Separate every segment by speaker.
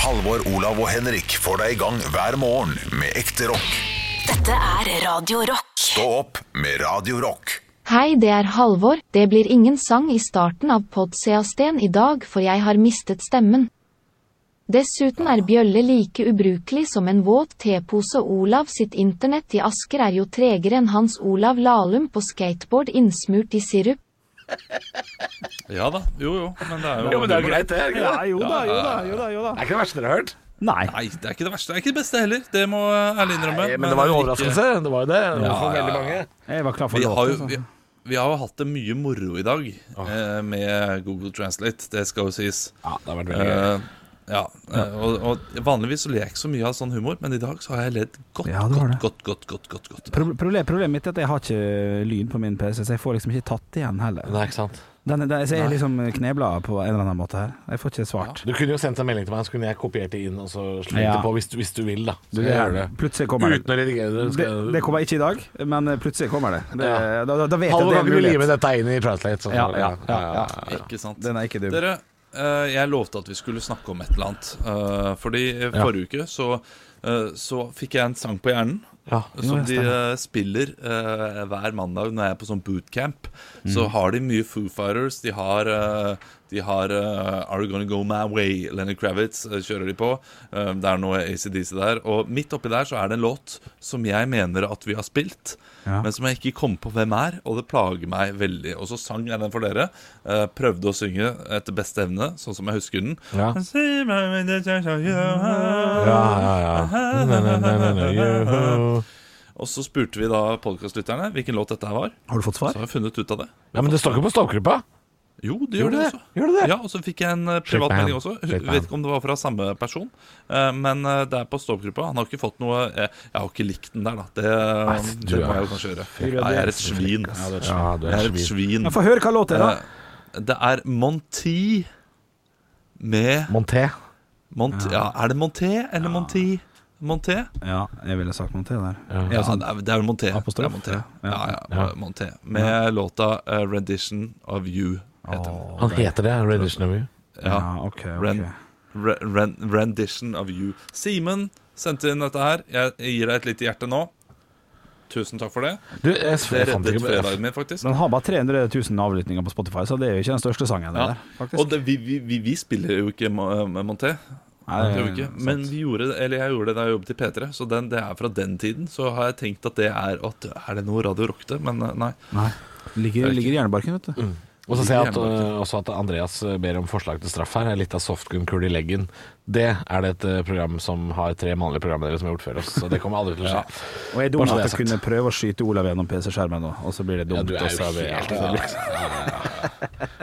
Speaker 1: Halvor, Olav og Henrik får deg i gang hver morgen med ekte rock.
Speaker 2: Dette er Radio Rock.
Speaker 1: Stå opp med Radio Rock.
Speaker 3: Hei, det er Halvor. Det blir ingen sang i starten av Podseasten i dag, for jeg har mistet stemmen. Dessuten er Bjølle like ubrukelig som en våt tepose. Olav sitt internett i Asker er jo tregere enn Hans Olav Lahlum på skateboard innsmurt i sirup.
Speaker 4: Ja da, jo jo, men det er jo,
Speaker 5: Jo, men det er jo greit, det. er det ikke
Speaker 6: Ja, jo da, jo da, jo da, jo da.
Speaker 5: Det er ikke det verste dere har hørt.
Speaker 6: Nei.
Speaker 4: Nei, det er ikke det verste. Det er ikke det beste heller. Det må eh, ærlig innrømme.
Speaker 5: Men det var jo
Speaker 4: like-
Speaker 5: overraskelse. Det var jo det. det var for
Speaker 4: Ja, ja,
Speaker 5: veldig
Speaker 4: ja.
Speaker 5: mange.
Speaker 6: Jeg var klar for altså.
Speaker 4: Vi har, jo,
Speaker 6: låten.
Speaker 4: vi,
Speaker 6: så-
Speaker 4: vi har jo hatt det mye moro i dag
Speaker 5: Ah.
Speaker 4: eh, med Google Translate, det skal jo sies.
Speaker 5: Ja, det har vært veldig gøy.
Speaker 4: Eh, ja, eh, og, og Vanligvis så ler jeg ikke så mye av sånn humor, men i dag så har jeg ledd godt,
Speaker 6: Ja, det var
Speaker 4: godt,
Speaker 6: det.
Speaker 4: godt, godt, godt, godt, godt.
Speaker 6: Proble- Problem, problemet mitt er at jeg har ikke lyd på min PC, så jeg får liksom ikke tatt igjen heller.
Speaker 5: Nei, ikke sant.
Speaker 6: Den, den, så jeg er liksom knebla på en eller annen måte her. Jeg får ikke svart.
Speaker 5: Du kunne jo sendt en melding til meg, så kunne jeg kopiert det inn og så slengt
Speaker 6: Ja.
Speaker 5: det på hvis du, hvis du vil, da. Så
Speaker 6: Du,
Speaker 5: kan jeg gjøre
Speaker 6: det,
Speaker 5: det.
Speaker 6: plutselig kommer det.
Speaker 5: Uten å redigere det.
Speaker 6: det.
Speaker 5: skal-
Speaker 6: Det kommer ikke i dag, men eh, plutselig kommer det. det
Speaker 5: Ja.
Speaker 6: da, da, da vet jeg at
Speaker 5: Halvor,
Speaker 6: det er
Speaker 5: kan ikke du lime
Speaker 6: mulighet.
Speaker 5: dette inn i Translate? sånn?
Speaker 6: Ja, ja, ja, ja.
Speaker 4: Ikke sant?
Speaker 6: Den er ikke dum.
Speaker 4: Dere, eh, jeg lovte at vi skulle snakke om et eller annet. eh, fordi eh, forrige uke så, eh, så fikk jeg en sang på hjernen.
Speaker 5: Ja.
Speaker 4: Som de eh, spiller eh, hver mandag når jeg er på sånn bootcamp. Så har de mye Foo Fighters. De har, eh, de har eh, Are You Gonna Go My Way, Lenny Kravitz eh, kjører de på. Eh, det er noe ACDC der. Og midt oppi der så er det en låt som jeg mener at vi har spilt,
Speaker 6: Ja.
Speaker 4: men som jeg ikke kom på hvem er, og det plager meg veldig. Og så sang jeg den for dere. eh, prøvde å synge etter beste evne, sånn som jeg husker den.
Speaker 5: Ja.
Speaker 4: Ja.
Speaker 5: Ja, ja, ja. Ne, ne, ne, ne, ne, juhu.
Speaker 4: Og så spurte vi da podkastlytterne hvilken låt dette her var.
Speaker 6: Har du fått
Speaker 4: Så
Speaker 6: svar?
Speaker 4: har jeg funnet ut av det.
Speaker 5: Ja, men det står ikke på stoppgruppa.
Speaker 4: Jo, det
Speaker 5: Gjorde
Speaker 4: gjør det
Speaker 5: det?
Speaker 4: også.
Speaker 5: Gjorde det?
Speaker 4: Ja, Og så fikk jeg en eh, privat
Speaker 5: meg
Speaker 4: melding
Speaker 5: han.
Speaker 4: også.
Speaker 5: Sjekk
Speaker 4: Jeg
Speaker 5: meg
Speaker 4: vet ikke om det var fra samme person, eh, men eh, det er på stoppgruppa. Han har ikke fått noe eh, Jeg har ikke likt den der, da. Det, um,
Speaker 5: du
Speaker 4: det må
Speaker 5: er
Speaker 4: jeg jo kanskje gjøre. Nei, jeg er et svin.
Speaker 5: Ja, du
Speaker 4: Jeg er et svin.
Speaker 6: Få høre hva låta er, da.
Speaker 4: Eh, Det er Monty med
Speaker 5: Monté.
Speaker 4: Mont... Ja, er det Monté eller Monty? Monté?
Speaker 6: Ja, jeg ville sagt noe til der.
Speaker 4: Ja, det er- det er vel Monté. Det
Speaker 6: Apostrof.
Speaker 4: er Monté.
Speaker 6: Ja.
Speaker 4: Ja, ja, Monté. Med låta eh, 'Rendition of You', heter den.
Speaker 5: Han heter det. Rendition of You.
Speaker 4: Ja.
Speaker 6: Ja, ok, ok.
Speaker 4: Ren, re, ren, rendition of you. Simen sendte inn dette her. Jeg gir deg et lite hjerte nå. Tusen takk for det.
Speaker 5: Du, jeg,
Speaker 4: Det
Speaker 5: jeg fant
Speaker 4: reddet
Speaker 5: ikke
Speaker 4: fredagen min, faktisk.
Speaker 6: Den har bare 300 000 avlyttinger på Spotify, så det er jo ikke den største sangen. Det
Speaker 4: Ja.
Speaker 6: der, faktisk.
Speaker 4: Og det, vi, vi, vi, vi spiller jo ikke Mo- eh, Monté.
Speaker 6: Nei,
Speaker 4: Det gjør vi ikke.
Speaker 6: sant.
Speaker 4: Men vi gjorde, det- eller jeg gjorde det da jeg jobbet i P3, så den, det er fra den tiden. Så har jeg tenkt at det er at, Er det noe Radio Rock det? Men eh, nei.
Speaker 6: Nei.
Speaker 4: Det
Speaker 6: Ligger,
Speaker 4: er
Speaker 6: ligger i hjernebarken, vet du.
Speaker 5: Og så ser jeg at, øh, også at Andreas øh, ber om forslag til straff her. Litt av softgun-kul i leggen. Det er det et øh, program som har tre mannlige programledere som har gjort før oss. Så det kommer aldri til å skje.
Speaker 6: Og jeg er dum
Speaker 5: Bare så
Speaker 6: at
Speaker 5: det er
Speaker 6: jeg kunne prøve å skyte Olav gjennom PC-skjermen nå, og så blir det dumt. og så er vi-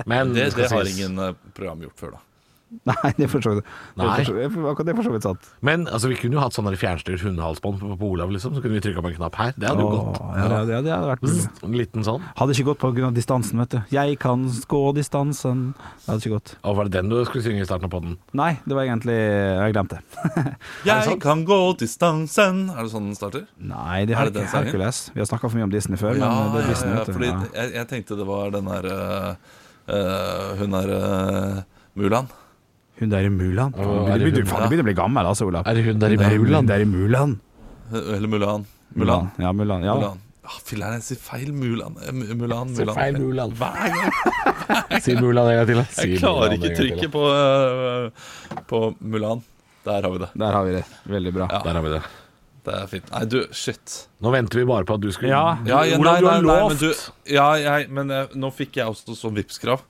Speaker 5: Men
Speaker 4: Det,
Speaker 5: skal
Speaker 4: det har
Speaker 5: sies.
Speaker 4: ingen eh, program gjort før, da.
Speaker 6: Nei, det er for så vidt det
Speaker 5: Nei.
Speaker 6: er for så- det er- akkurat det er for så vidt sant.
Speaker 5: Men altså, vi kunne jo hatt sånne fjernstyrt hundehalsbånd på, på Olav, liksom. Så kunne vi trykka på en knapp her. Det hadde jo gått.
Speaker 6: Åh, ja, det, det hadde vært mulig.
Speaker 5: Zzz, En liten sånn.
Speaker 6: Hadde ikke gått pga. distansen, vet du. Jeg kan gå distansen. Det hadde ikke gått.
Speaker 5: Og var det den du skulle synge i starten av podden?
Speaker 6: Nei, det var egentlig Jeg glemte det.
Speaker 4: Jeg kan gå distansen Er det sånn den starter?
Speaker 6: Nei, det
Speaker 4: Er
Speaker 6: har
Speaker 4: det den
Speaker 6: ikke
Speaker 4: sangen?
Speaker 6: Hercules. Vi har snakka for mye om Disney før,
Speaker 4: Ja,
Speaker 6: men det
Speaker 4: ja,
Speaker 6: er Disney,
Speaker 4: ja,
Speaker 6: vet du.
Speaker 4: fordi
Speaker 6: Ja.
Speaker 4: jeg, jeg tenkte det var den der eh, eh, Hun der eh, Mulan.
Speaker 6: Hun der i Mulan. Du
Speaker 5: Å, er
Speaker 6: begynner,
Speaker 5: det
Speaker 6: du
Speaker 5: hun-
Speaker 6: faen, du begynner å bli gammel, altså, Olav.
Speaker 5: Er det hun der i
Speaker 6: Hun
Speaker 5: Mulan?
Speaker 6: der i Mulan.
Speaker 4: Eh, Eller Mulan. Mulan.
Speaker 6: Ja, Mulan. Ja.
Speaker 4: Mulan. Ah, Filler'n, jeg sier feil Mulan. Eh, Mu- Mulan,
Speaker 5: Si
Speaker 4: Mulan.
Speaker 5: feil Mulan.
Speaker 4: Hver gang.
Speaker 5: Si Mulan en gang til. da. Si
Speaker 4: Jeg klarer
Speaker 5: Mulan en
Speaker 4: ikke
Speaker 5: gang til, da.
Speaker 4: trykket på, eh, på Mulan. Der har vi det.
Speaker 6: Der har vi det. Veldig bra.
Speaker 4: Ja.
Speaker 5: Der har vi det.
Speaker 4: Det er fint. Nei, du, shit.
Speaker 5: Nå venter vi bare på at du skulle
Speaker 6: Ja.
Speaker 4: Ja, ja, nei,
Speaker 5: Olav, du har
Speaker 4: nei, nei,
Speaker 5: lovt.
Speaker 4: men du- Ja, jeg, men eh, nå fikk jeg også sånn Vipps-krav.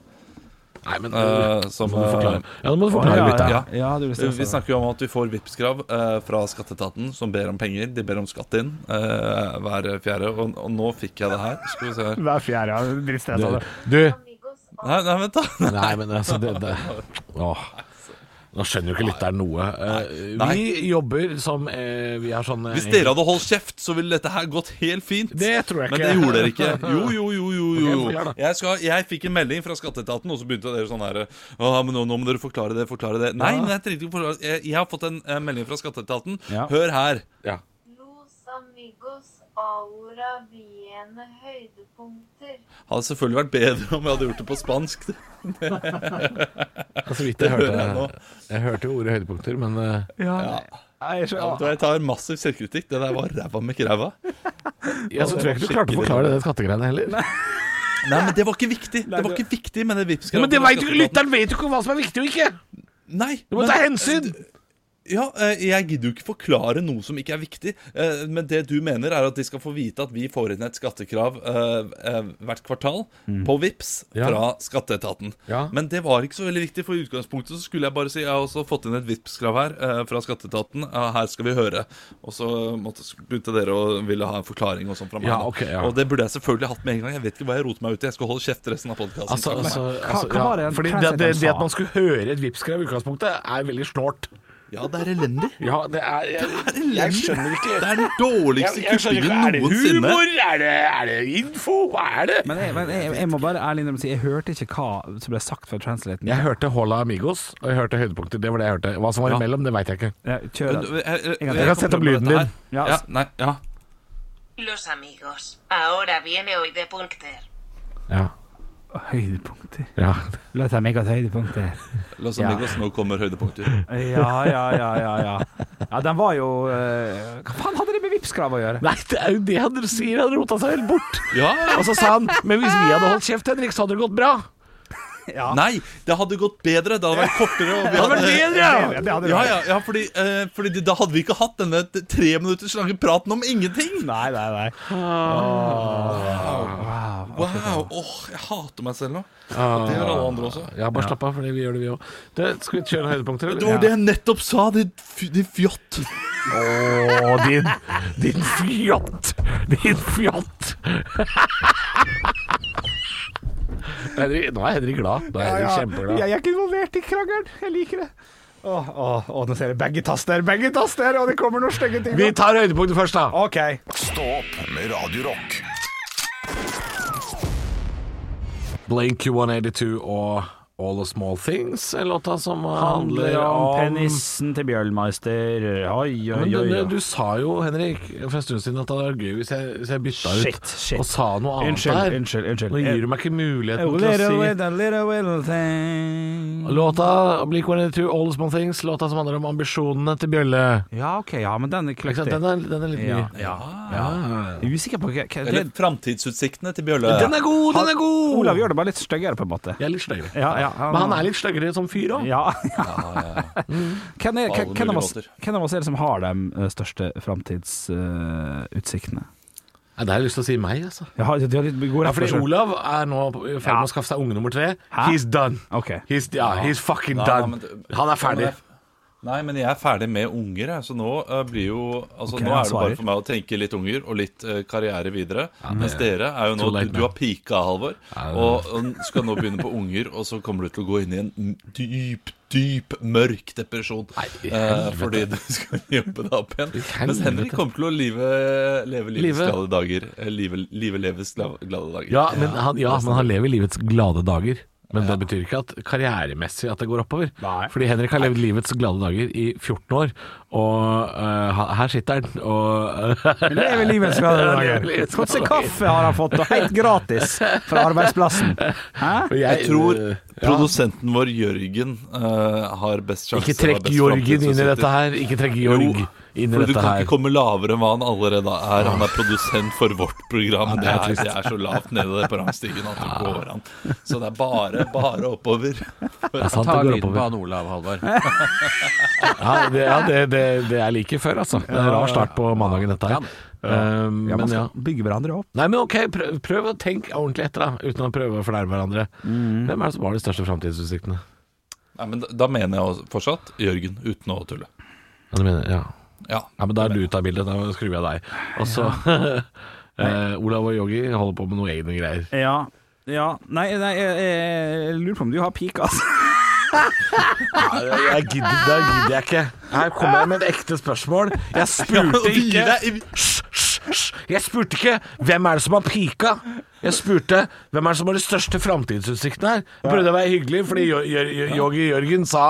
Speaker 5: Nei, men
Speaker 4: eh, som,
Speaker 5: Nå må du forklare.
Speaker 4: eh,
Speaker 5: Ja, nå må du forklare litt.
Speaker 6: ja.
Speaker 5: da.
Speaker 4: ja.
Speaker 6: ja du vil se
Speaker 5: sånn.
Speaker 4: Vi snakker jo om at vi får Vipps-krav eh, fra skatteetaten, som ber om penger. De ber om skatt inn eh, hver fjerde, og, og nå fikk jeg det her. Skal vi se her.
Speaker 6: Hver fjerde. Ja, altså. Dritt stress av det.
Speaker 5: Du,
Speaker 4: Nei, nei vent, da.
Speaker 5: nei, men altså det, det. Åh. Nå skjønner jo ikke lytteren noe. Eh,
Speaker 4: Nei.
Speaker 5: Vi jobber som eh, Vi har sånn eh,
Speaker 4: Hvis dere hadde holdt kjeft, så ville dette her gått helt fint.
Speaker 5: Det tror jeg
Speaker 4: Men
Speaker 5: ikke.
Speaker 4: det gjorde dere ikke. Jo, jo, jo. jo, jo.
Speaker 5: Ok, forklar da.
Speaker 4: Jeg, skal, jeg fikk en melding fra skatteetaten, og så begynte dere sånn her Å, men nå, nå må dere forklare det, forklare det. Nei, men jeg trengte ikke forklare Jeg, jeg har fått en eh, melding fra skatteetaten.
Speaker 6: Ja.
Speaker 4: Hør her.
Speaker 5: Ja.
Speaker 7: Los amigos aller avgjørende høydepunkter.
Speaker 4: Hadde selvfølgelig vært bedre om jeg hadde gjort det på spansk.
Speaker 5: Så vidt
Speaker 4: Det
Speaker 5: jeg hørte.
Speaker 4: hører jeg nå.
Speaker 5: Jeg hørte jo ordet høydepunkter, men eh,
Speaker 6: Ja. Nei, jeg
Speaker 5: Ah.
Speaker 4: Ja, vet du hva, jeg tar massiv selvkritikk. Det der var ræva med ræva.
Speaker 5: jeg så tror jeg ikke du klarte å forklare det skattegreiene heller.
Speaker 4: Nei, men det var ikke viktig. Det var ikke viktig med den Vipps-greia.
Speaker 5: vet jo ikke hva som er viktig og ikke!
Speaker 4: Nei,
Speaker 5: Du må
Speaker 4: men-
Speaker 5: ta hensyn!
Speaker 4: Ja, eh, jeg gidder jo ikke forklare noe som ikke er viktig, eh, men det du mener er at de skal få vite at vi får inn et skattekrav eh, eh, hvert kvartal på VIPS
Speaker 5: Mm. Ja.
Speaker 4: fra skatteetaten.
Speaker 5: Ja.
Speaker 4: Men det var ikke så veldig viktig, for i utgangspunktet så skulle jeg bare si jeg har også fått inn et VIPS-krav her eh, fra skatteetaten, Ja, her skal vi høre. Og så måtte, begynte dere å ville ha en forklaring og sånn fra meg.
Speaker 5: Ja,
Speaker 4: da.
Speaker 5: ok, ja.
Speaker 4: Og det burde jeg selvfølgelig hatt med en gang. Jeg vet ikke hva jeg roter meg ut i. Jeg skal holde kjeft resten av podkasten.
Speaker 5: Altså, altså, altså,
Speaker 6: hva var det
Speaker 5: ja,
Speaker 6: en
Speaker 5: fordi det,
Speaker 6: translator
Speaker 5: det, det
Speaker 6: sa?
Speaker 5: at man skulle høre et Vipps-krav i utgangspunktet, er veldig snålt.
Speaker 4: ja, det er elendig.
Speaker 5: Ja, det er Jeg, jeg skjønner
Speaker 4: Det
Speaker 5: ikke.
Speaker 4: er den dårligste
Speaker 5: Jeg, jeg skjønner ikke. Er
Speaker 4: kuppingen
Speaker 5: det
Speaker 4: noensinne.
Speaker 5: humor? Er det, er det info? Hva er det?
Speaker 6: Men jeg, men jeg, jeg må bare ærlig innrømme å si jeg hørte ikke hva som ble sagt fra translaten.
Speaker 5: Jeg hørte Hola Amigos, og jeg hørte høydepunkter. Det var det jeg hørte. Hva som var imellom, det veit jeg ikke.
Speaker 6: Ja, kjør den.
Speaker 5: Jeg kan sette opp lyden din.
Speaker 4: Ja,
Speaker 6: Ja.
Speaker 4: nei, ja.
Speaker 8: Los amigos. Ahora viene hoy de Punkter.
Speaker 5: Ja.
Speaker 6: Høydepunkter.
Speaker 5: ja.
Speaker 6: La oss ha meget høydepunkter.
Speaker 4: Los
Speaker 6: Ja.
Speaker 4: Amigos, nå kommer høydepunkter.
Speaker 6: Ja, ja, ja, ja. Ja, ja den var jo eh, Hva faen hadde det med Vipps-krav å gjøre?
Speaker 5: Nei, det er jo det han sier. Han rota seg helt bort.
Speaker 4: Ja!
Speaker 5: Og så sa han Men hvis vi hadde holdt kjeft, Henrik, så hadde det gått bra.
Speaker 4: Nei, det hadde gått bedre. Det hadde vært kortere. Og vi
Speaker 5: Det hadde vært bedre!
Speaker 6: Ja, Eh, det hadde
Speaker 4: ja,
Speaker 6: vært.
Speaker 4: ja, ja, fordi, eh, fordi de- da hadde vi ikke hatt denne t- tre minutters lange praten om ingenting.
Speaker 6: Nei, nei, nei.
Speaker 4: Wow, åh, Jeg hater meg selv nå.
Speaker 5: Ah.
Speaker 4: Det gjør alle andre også.
Speaker 5: Ja, bare slapp av, for vi gjør det, vi òg. Skal vi kjøre
Speaker 4: Det
Speaker 5: høydepunkter,
Speaker 4: var
Speaker 5: eller?
Speaker 4: det jeg nettopp sa, din f- din fjott.
Speaker 5: Å, din, din fjott! Din fjott! Henrik, nå er Henrik glad. Nå er Henrik kjempeglad.
Speaker 6: Jeg er ikke involvert i krangelen. Jeg liker det. Åh, åh, åh, nå ser jeg begge taster, begge taster, og det kommer noen stygge ting.
Speaker 5: Vi tar høydepunktet først, da.
Speaker 6: OK.
Speaker 1: Stå opp med Radio Rock.
Speaker 5: Blink 182 og All the Small Things, en låta som handler om
Speaker 6: til Bjørnmeister. Oi, oi,
Speaker 5: Men denne, du sa jo, Henrik, for en stund siden at det hadde vært gøy hvis jeg, hvis jeg bytta
Speaker 6: Shit,
Speaker 5: ut
Speaker 6: shit.
Speaker 5: og sa noe annet
Speaker 6: Unnskyld,
Speaker 5: der.
Speaker 6: unnskyld, unnskyld.
Speaker 5: Nå gir du meg ikke muligheten til å si Låta Blink 182, All the Small Things, låta som handler om ambisjonene til Bjølle.
Speaker 6: Ja, OK, ja, men den er
Speaker 5: Ikke sant? Den er, den er litt ny.
Speaker 6: Ja. Jeg er usikker på hva hva-
Speaker 4: Eller
Speaker 6: det-
Speaker 4: framtidsutsiktene til Bjølle.
Speaker 5: Den er god, den er god!
Speaker 6: Olav gjør det bare litt styggere, på en måte.
Speaker 5: Jeg er litt styggere.
Speaker 6: Ja, ja, han-
Speaker 5: Men han er litt styggere som fyr òg.
Speaker 6: Ja. Hvem er-
Speaker 4: På alle
Speaker 6: hvem av
Speaker 4: mulige
Speaker 6: oss-
Speaker 4: måter.
Speaker 6: hvem av oss er det som har de eh, største framtidsutsiktene?
Speaker 5: Det har jeg lyst til å si meg, altså.
Speaker 6: Jeg har, de har litt god
Speaker 5: Ja,
Speaker 6: rett
Speaker 5: fordi
Speaker 6: for seg.
Speaker 5: Olav er nå i ferd med å skaffe seg unge nummer tre. He's done.
Speaker 6: Ok.
Speaker 5: He's, ja, he's fucking
Speaker 4: Nei, nei,
Speaker 5: done.
Speaker 4: men du-
Speaker 5: Han er ferdig.
Speaker 4: Ja, men jeg- Nei, men jeg er ferdig med unger, jeg, så nå eh, blir jo altså,
Speaker 6: Ok,
Speaker 4: Nå er det
Speaker 6: jeg
Speaker 4: bare
Speaker 6: svarer.
Speaker 4: for meg å tenke litt unger og litt eh, karriere videre. mens dere er jo
Speaker 5: too
Speaker 4: nå
Speaker 5: late
Speaker 4: Du, du
Speaker 5: now.
Speaker 4: har pika, Halvor, og, og skal nå begynne på unger, og så kommer du til å gå inn i en dyp, dyp, mørk depresjon.
Speaker 5: Nei, i
Speaker 4: eh,
Speaker 5: helvete.
Speaker 4: fordi du skal jobbe deg opp igjen.
Speaker 5: I
Speaker 4: Mens Henrik
Speaker 5: helvete.
Speaker 4: kommer til å live, leve livets
Speaker 5: Live.
Speaker 4: glade dager. Eh, Live, live leves gla- glade dager.
Speaker 5: Ja, men han, ja, men han lever livets glade dager. Men det betyr ikke at karrieremessig at det går oppover.
Speaker 6: Nei.
Speaker 5: Fordi Henrik har levd livets glade dager i 14 år, og øh, ha- her sitter han og eh,
Speaker 6: Lever livets glade
Speaker 5: Lever
Speaker 6: dager.
Speaker 5: livets glade
Speaker 6: Hvordan
Speaker 5: dager.
Speaker 6: kaffe har han fått, og helt gratis fra arbeidsplassen? Hæ?
Speaker 4: Jeg tror
Speaker 5: øh,
Speaker 4: produsenten vår Jørgen eh, har best sjanse.
Speaker 5: Ikke trekk Jorgen inn i dette her. Ikke trekk Jorg inn i
Speaker 4: for du
Speaker 5: dette
Speaker 4: kan
Speaker 5: her. Ah.
Speaker 4: ikke komme lavere enn hva han allerede er. Han er produsent for vårt program.
Speaker 5: det
Speaker 4: Det
Speaker 5: er Ah.
Speaker 4: er, det er så lavt nede på rangstigen at det går an. Så det er bare, bare oppover.
Speaker 5: Det er sant,
Speaker 9: Ta lyden
Speaker 5: det går
Speaker 9: på
Speaker 5: oppover.
Speaker 9: han Olav, Halvor.
Speaker 5: Ja, det, ja, det, det, det er like før, altså. Det er en rar start på mandagen, dette her. Um,
Speaker 6: Ja, man
Speaker 5: men ja.
Speaker 6: skal bygge hverandre opp.
Speaker 5: Nei, men ok, prøv, prøv å tenke ordentlig etter, da. Uten å prøve å fornærme hverandre. Hvem er det som har de største framtidsutsiktene?
Speaker 4: Nei, men da- da mener jeg også fortsatt Jørgen, uten å tulle.
Speaker 5: Ja, du mener, ja.
Speaker 4: Ja.
Speaker 5: ja, men da er du ute av bildet. Da skrur jeg deg. Og så eh, Olav og Yogi holder på med noen egne greier.
Speaker 6: Ja. Ja. Nei, nei jeg, jeg, jeg lurer på om du har peak, altså.
Speaker 5: Jeg, gidder, da gidder jeg ikke. Her kommer jeg med et ekte spørsmål. Jeg spurte ikke Hysj, hysj, hysj. Jeg spurte ikke hvem er det som har pika. Jeg spurte hvem er det som har de største framtidsutsiktene her. Jeg prøvde å være hyggelig, fordi Yo- Yo- Yo- Yogi Jørgen sa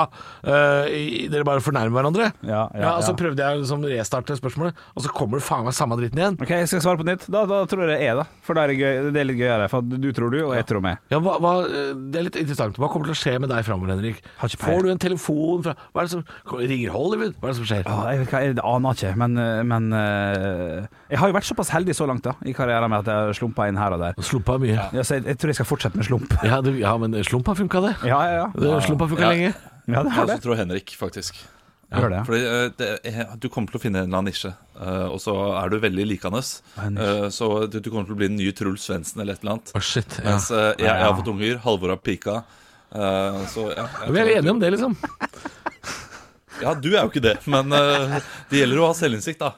Speaker 5: eh, i- dere bare fornærmer hverandre.
Speaker 6: Ja, ja,
Speaker 5: og Så
Speaker 6: ja.
Speaker 5: prøvde jeg å liksom restarte spørsmålet, og så kommer det faen meg samme dritten igjen.
Speaker 6: OK, jeg skal svare på nytt. Da, da tror jeg det er, da. For da er det, gøy, det er litt gøyere. For du tror du, og jeg tror meg.
Speaker 5: Ja, hva, hva, eh, det er litt interessant. Hva kommer til å skje med deg framover, Henrik?
Speaker 6: Har ikke peiling.
Speaker 5: Får du en telefon fra Hva er det som Ringer Hollywood? Hva er det som skjer?
Speaker 6: Åh, jeg, vet ikke, jeg aner ikke, men, eh, men eh, Jeg har jo vært såpass heldig så langt da i karrieren med at jeg har slumpa inn her og der.
Speaker 5: Slumpa er mye.
Speaker 6: Ja, så jeg, jeg tror jeg skal fortsette med slump.
Speaker 5: Ja, det, ja men slumpa funka, det.
Speaker 6: Ja, ja, ja.
Speaker 5: det slumpa funka
Speaker 4: Ja.
Speaker 5: lenge.
Speaker 6: ja det
Speaker 4: Jeg
Speaker 6: har
Speaker 4: også
Speaker 6: det.
Speaker 4: tror Henrik, faktisk.
Speaker 6: Gjør det, ja.
Speaker 4: Fordi eh, det, er- Du kommer til å finne en eller annen nisje, eh, og så er du veldig likende.
Speaker 6: en nisje.
Speaker 4: Eh, Så du, du kommer til å bli den nye Truls Svendsen eller et eller annet.
Speaker 5: Å, shit. Ja.
Speaker 4: Mens eh, jeg, jeg har fått unger, Halvor har pika. eh, så ja, jeg
Speaker 5: Vi er
Speaker 4: tror-
Speaker 5: enige om det, liksom.
Speaker 4: Ja, du er jo ikke det, men eh, det gjelder å ha selvinnsikt, da.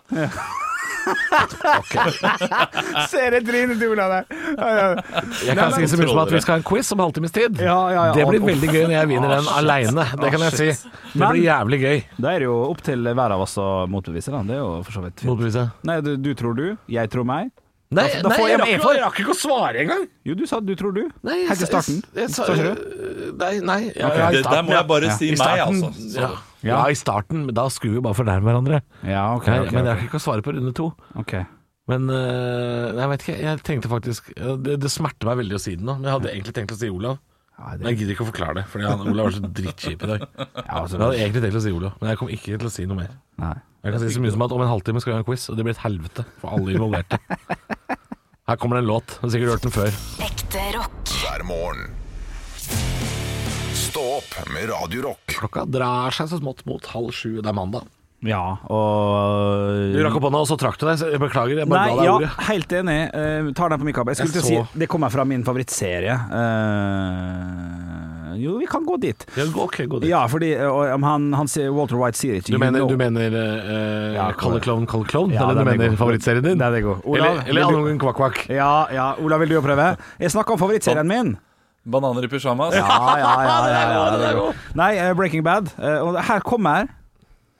Speaker 6: Ser jeg trynet til Ola der? Ja, ja.
Speaker 5: Jeg
Speaker 6: Nei,
Speaker 5: kan
Speaker 6: men-
Speaker 5: si så mye som at vi skal ha en quiz om halvtimes tid.
Speaker 6: Ja, ja, ja.
Speaker 5: Det blir
Speaker 6: Uff.
Speaker 5: veldig gøy når jeg vinner den aleine. Det kan jeg si. Det
Speaker 6: Men-
Speaker 5: blir jævlig gøy.
Speaker 6: Da er det jo opp til hver av oss å motbevise, da. Det er jo for så vidt fint.
Speaker 5: Motbevise.
Speaker 6: Nei, du, du tror du, jeg tror meg.
Speaker 5: Nei,
Speaker 6: da
Speaker 5: nei,
Speaker 6: får jeg
Speaker 5: jeg, rakk,
Speaker 6: meg
Speaker 5: jo-
Speaker 6: for.
Speaker 5: jeg rakk ikke å svare engang.
Speaker 6: Jo, du sa du tror du.
Speaker 5: Nei,
Speaker 6: Helt til starten.
Speaker 5: jeg sa-
Speaker 6: Sa ikke
Speaker 5: Nei, nei. Ja,
Speaker 6: Ok,
Speaker 5: ja, i
Speaker 4: Det, der må jeg
Speaker 5: starten,
Speaker 4: bare
Speaker 6: Ja.
Speaker 4: si
Speaker 5: I
Speaker 4: meg,
Speaker 5: starten,
Speaker 4: altså. Så,
Speaker 5: ja. Ja, i starten, men da skulle vi bare fornærme hverandre.
Speaker 6: Ja, ok.
Speaker 5: Nei,
Speaker 6: ok,
Speaker 5: men jeg
Speaker 6: ok.
Speaker 5: rakk ikke å svare på runde to.
Speaker 6: Ok.
Speaker 5: Men øh, jeg vet ikke, jeg tenkte faktisk Det, det smerter meg veldig å si det nå, men jeg hadde egentlig tenkt å si Olav.
Speaker 6: Ja,
Speaker 5: Men
Speaker 6: det,
Speaker 5: jeg gidder ikke å forklare det, Fordi han, Olav var så drittkjip i dag.
Speaker 6: ja, altså,
Speaker 5: Jeg hadde egentlig tenkt å si Olav, men jeg kom ikke til å si noe mer.
Speaker 6: nei.
Speaker 5: Jeg kan si så mye som at om en halvtime skal vi ha en quiz, og det blir et helvete for alle involverte. Her kommer det en låt. Du har sikkert hørt den før.
Speaker 2: Ekte rock.
Speaker 1: hver morgen. Stå opp med Radio Rock.
Speaker 5: Klokka drar seg så smått mot halv sju. Det er mandag.
Speaker 6: Ja, og
Speaker 5: Du rakk opp hånda, og så trakk du deg. Så jeg beklager, jeg bare
Speaker 6: Nei,
Speaker 5: ga deg
Speaker 6: ja,
Speaker 5: ordet.
Speaker 6: helt enig. Eh, tar den på min kappe. Jeg skulle
Speaker 5: Jeg
Speaker 6: til å
Speaker 5: så-
Speaker 6: si Det kommer fra min favorittserie. Eh, jo, vi kan gå dit.
Speaker 5: Ja, ok, gå dit.
Speaker 6: Ja, fordi eh, og, om han, han sier Walter White sier ikke
Speaker 5: Du
Speaker 6: you
Speaker 5: mener,
Speaker 6: know.
Speaker 5: du mener eh,
Speaker 6: Ja,
Speaker 5: Kalle Klovn, Kalle Klovn?
Speaker 6: Ja,
Speaker 5: er det
Speaker 6: den
Speaker 5: du
Speaker 6: er
Speaker 5: mener
Speaker 6: god.
Speaker 5: favorittserien din?
Speaker 6: Den er god. Olav,
Speaker 5: Eller,
Speaker 6: vil
Speaker 5: eller
Speaker 6: du-
Speaker 5: andre gangen Kvakk Kvakk.
Speaker 6: Ja, ja. Ola, vil du jo prøve? Jeg snakka om favorittserien min.
Speaker 4: Bananer i pysjamas.
Speaker 6: Ja, ja, ja. ja, ja, det er god. Nei, eh, Breaking Bad. Eh, og her kommer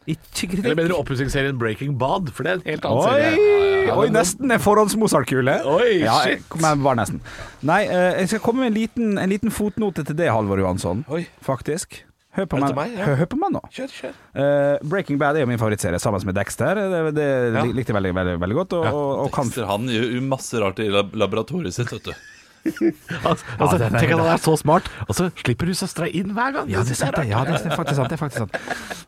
Speaker 6: Ikke
Speaker 5: Eller
Speaker 6: kritikk.
Speaker 5: mener du oppussingsserien Breaking Bad? For det er en helt annen
Speaker 6: Oi,
Speaker 5: serie.
Speaker 6: oi, nesten en forhåndsmozartkule.
Speaker 5: Oi,
Speaker 6: Ja, jeg-
Speaker 5: shit.
Speaker 6: men bare nesten. Nei, eh, jeg skal komme med en liten, en liten fotnote til det, Halvor Johansson.
Speaker 5: Oi.
Speaker 6: Faktisk. Hør på
Speaker 5: Er det
Speaker 6: meg,
Speaker 5: til meg, ja?
Speaker 6: hør, hør på meg nå.
Speaker 5: Kjør, kjør.
Speaker 6: Eh, Breaking Bad er jo min favorittserie, sammen med Dexter. Eh, Det, det
Speaker 5: Ja.
Speaker 6: lik- likte jeg veldig, veldig, veldig godt. Og, og, og kan
Speaker 4: Dexter, han gjør jo masse rart i lab- laboratoriet sitt, vet du.
Speaker 5: Altså, altså,
Speaker 6: den er
Speaker 5: tenk at
Speaker 6: bra.
Speaker 5: han er så smart, og så slipper du søstera inn hver gang.
Speaker 6: Ja, det er sant, det. Ja, det er faktisk sant. Det er faktisk sant.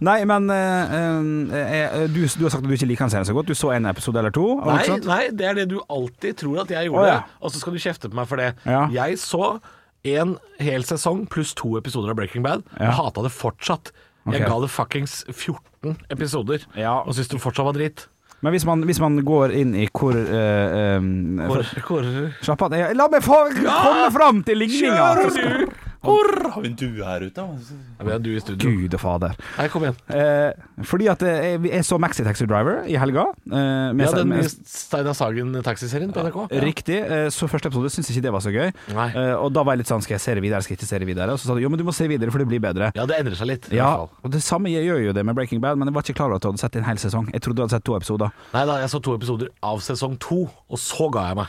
Speaker 6: Nei, men eh, eh, eh, du, du har sagt at du ikke liker den serien så godt. Du så en episode eller to? og ikke
Speaker 5: Nei,
Speaker 6: sant?
Speaker 5: nei, det er det du alltid tror at jeg
Speaker 6: Å,
Speaker 5: gjorde,
Speaker 6: ja.
Speaker 5: og så skal du kjefte på meg for det.
Speaker 6: Ja.
Speaker 5: Jeg så en hel sesong pluss to episoder av Breaking Bad, og
Speaker 6: Ja.
Speaker 5: hata det fortsatt.
Speaker 6: Ok.
Speaker 5: Jeg ga det fuckings 14 episoder,
Speaker 6: Ja.
Speaker 5: og syntes det fortsatt var dritt.
Speaker 6: Men hvis man, hvis man går inn i hvor eh, eh, for- Slapp av. Jeg- La meg få komme fram til ligninga!
Speaker 4: Hvor har vi en due her ute? altså?
Speaker 5: Ja, men det er du i studio.
Speaker 6: Gud og fader.
Speaker 5: Nei, kom igjen.
Speaker 6: Eh, fordi at eh, jeg, jeg så Maxi Taxi Driver i helga. eh, med-
Speaker 5: Ja, den
Speaker 6: med-
Speaker 5: nye Steinar Sagen-taxiserien på NRK.
Speaker 6: Riktig. eh, Så første episode syns ikke det var så gøy.
Speaker 5: Nei.
Speaker 6: Eh, Og da var jeg litt sånn Skal jeg se det videre, skal jeg ikke se det videre? Og så sa du jo, men du må se videre, for det blir bedre.
Speaker 5: Ja, det endrer seg litt. i
Speaker 6: Ja,
Speaker 5: hvert fall.
Speaker 6: og det samme gjør jo det med Breaking Bad, men jeg var ikke klar over at du hadde sett en hel sesong. Jeg trodde du hadde sett to episoder.
Speaker 5: Nei da, jeg så to episoder av sesong to, og så ga jeg meg.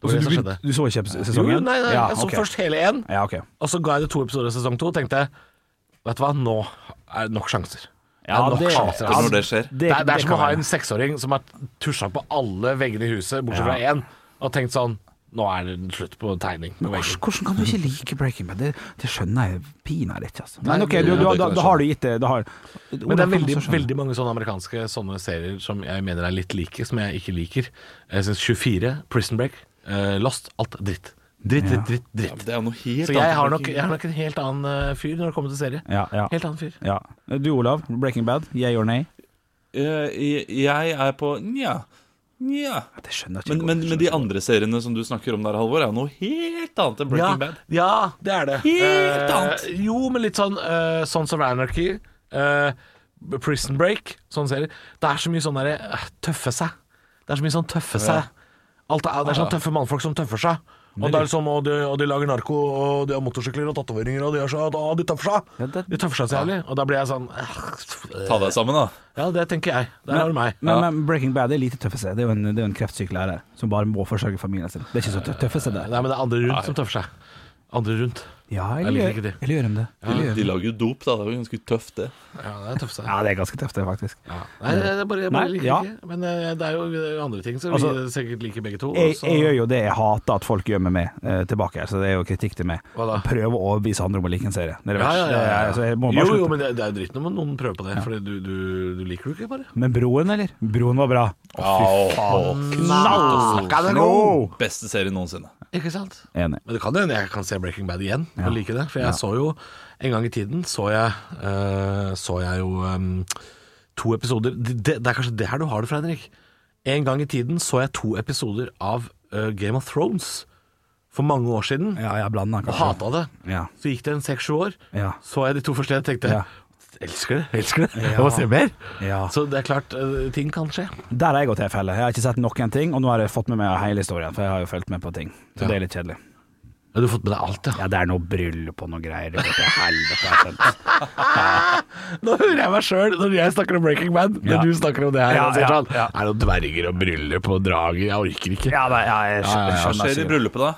Speaker 5: Det var
Speaker 6: Så
Speaker 5: det
Speaker 6: du,
Speaker 5: som
Speaker 6: begyn-
Speaker 5: skjedde.
Speaker 6: du så ikke epis-
Speaker 5: Altså, Jo,
Speaker 6: sesongen?
Speaker 5: jo, nei, nei,
Speaker 6: ja,
Speaker 5: jeg så
Speaker 6: ok.
Speaker 5: først hele én,
Speaker 6: Ja, ok.
Speaker 5: og så ga jeg det to episoder av sesong to, og tenkte jeg, Vet du hva, nå er det nok sjanser. Det er
Speaker 6: Ja,
Speaker 5: nok
Speaker 6: det-
Speaker 5: sjanser,
Speaker 4: Det er
Speaker 5: altså.
Speaker 4: når det skjer.
Speaker 5: Det, er, det er
Speaker 6: det
Speaker 5: som å
Speaker 6: kan
Speaker 5: ha
Speaker 6: være.
Speaker 5: en seksåring som har tusja på alle veggene i huset, bortsett fra
Speaker 6: Ja.
Speaker 5: én, og tenkt sånn Nå er det slutt på tegning på
Speaker 6: Hvordan,
Speaker 5: veggen.
Speaker 6: hvordan kan du ikke like Breaking Bad? Det, det skjønner jeg pinadø ikke. Altså. Men
Speaker 5: Nei,
Speaker 6: ok, du,
Speaker 5: det-
Speaker 6: du,
Speaker 4: det
Speaker 6: da,
Speaker 4: kan jeg
Speaker 6: da har du gitt det. Da har,
Speaker 5: Men det
Speaker 6: Hvordan
Speaker 5: er
Speaker 6: kan
Speaker 5: veldig,
Speaker 6: man så skjønne?
Speaker 5: veldig mange sånne amerikanske sånne serier som jeg mener er litt like, som jeg ikke liker. Jeg syns 24, Prison Break, eh, Lost, alt er dritt. Dritt, dritt, dritt,
Speaker 4: Ja, men
Speaker 5: dritt.
Speaker 4: Det er jo noe helt
Speaker 5: Så jeg
Speaker 4: annet.
Speaker 5: har nok, jeg har nok en helt annen eh, fyr når det kommer til serie.
Speaker 6: ja, ja,
Speaker 5: Helt annen fyr.
Speaker 6: ja. Du, Olav. Breaking Bad. Yeah or nay?
Speaker 4: Eh, Jeg jeg er på nja. Nja.
Speaker 6: Det skjønner jeg
Speaker 4: Men,
Speaker 6: ikke.
Speaker 4: men, men de andre seriene som du snakker om der, Halvor, er jo noe helt annet enn Breaking Bad.
Speaker 5: Ja, det er det.
Speaker 4: Helt annet.
Speaker 5: Eh, jo, men litt sånn eh, Sons of Anarchy, eh, Prison Break, sånne serier. Det er så mye sånn derre eh, tøffe seg. Det er så mye sånn tøffe seg. Alt er, det er sånn tøffe mannfolk som tøffer seg. Og det er liksom, og de, og de lager narko, og de har motorsykler og tatoveringer, og de gjør så, og de tøffer seg.
Speaker 6: Ja, det-
Speaker 5: De tøffer seg så jævlig. Og da blir jeg sånn eh,
Speaker 4: Ta deg sammen, da.
Speaker 5: Ja, det tenker jeg. Der har du meg.
Speaker 6: Men, men Breaking Bad er lite tøffeste. Det er jo en, det er jo en kreftsyk lærer som bare må forsørge familien sin. Det er ikke så tø- tøffeste
Speaker 5: Nei,
Speaker 6: der.
Speaker 5: men det er andre rundt som tøffer seg. Andre rundt.
Speaker 6: Ja,
Speaker 5: Jeg
Speaker 6: eller
Speaker 5: liker
Speaker 6: gjør,
Speaker 5: ikke de.
Speaker 6: eller gjør de det? Eller gjør
Speaker 4: De
Speaker 6: de det?
Speaker 4: lager jo dop, da. Det er jo ganske tøft, det.
Speaker 5: Ja, det er tøft seg.
Speaker 6: Ja, det er ganske tøft, det, faktisk.
Speaker 5: Ja. Nei, det er bare, jeg bare
Speaker 6: Nei,
Speaker 5: liker
Speaker 6: ja.
Speaker 5: ikke. Men eh, det er jo eh, andre ting som vi
Speaker 6: Altså,
Speaker 5: sikkert liker begge to.
Speaker 6: Jeg,
Speaker 5: så-
Speaker 6: jeg gjør jo det jeg hater at folk gjør med meg, eh, tilbake her, så det er jo kritikk til meg.
Speaker 5: Hva da?
Speaker 6: Prøve å overbevise andre om å like en serie. Det er det
Speaker 5: ja, ja,
Speaker 6: verste.
Speaker 5: ja, ja.
Speaker 6: Det er- så altså, jeg må bare
Speaker 5: Jo, jo,
Speaker 6: slutte.
Speaker 5: men det, det er jo dritt når noen prøver på det, Fordi du, du, du liker det jo ikke bare.
Speaker 6: Men Broen, eller? Broen var bra. Å, fy faen. Knallsnå!
Speaker 4: Beste serie noensinne.
Speaker 5: Ikke sant?
Speaker 6: Enig.
Speaker 5: Men det kan jo hende jeg kan se Breaking Bad igjen og like det. For jeg så jo en gang i tiden så jeg, eh, så jeg jo em, to episoder det, det det er kanskje det her du har det fra, Henrik. En gang i tiden så jeg to episoder av eh, Game of Thrones for mange år siden.
Speaker 6: Ja, jeg blanda,
Speaker 5: Og
Speaker 6: kanskje.
Speaker 5: hata det.
Speaker 6: Ja.
Speaker 5: Så gikk det en seks-sju år,
Speaker 6: Ja.
Speaker 5: så jeg de to første og tenkte
Speaker 6: Ja.
Speaker 5: Elsker det, elsker det.
Speaker 6: Ja.
Speaker 5: Jeg må se mer.
Speaker 6: Ja.
Speaker 5: Så det er klart, eh, ting kan skje.
Speaker 6: Der har jeg gått i en felle. Jeg har ikke sett noen ting, og nå har jeg fått med meg hele historien, for jeg har jo fulgt med på ting. Så
Speaker 5: Ja.
Speaker 6: det er litt kjedelig.
Speaker 5: Ja, du har fått med deg alt, ja.
Speaker 6: Ja, det er noe bryllup og noe greier. Det går til helvete, jeg har skjønt.
Speaker 5: Nå hører jeg meg sjøl når jeg snakker om Breaking Bad, når
Speaker 6: Ja.
Speaker 5: du snakker om det her.
Speaker 6: Ja,
Speaker 5: og sier
Speaker 6: ja,
Speaker 5: sånn,
Speaker 6: ja.
Speaker 5: Er det noen dverger og bryllup og drager? Jeg orker ikke.
Speaker 6: Ja, nei, ja, jeg skjønner,
Speaker 4: Hva skjer i
Speaker 6: sikkert.
Speaker 4: bryllupet, da?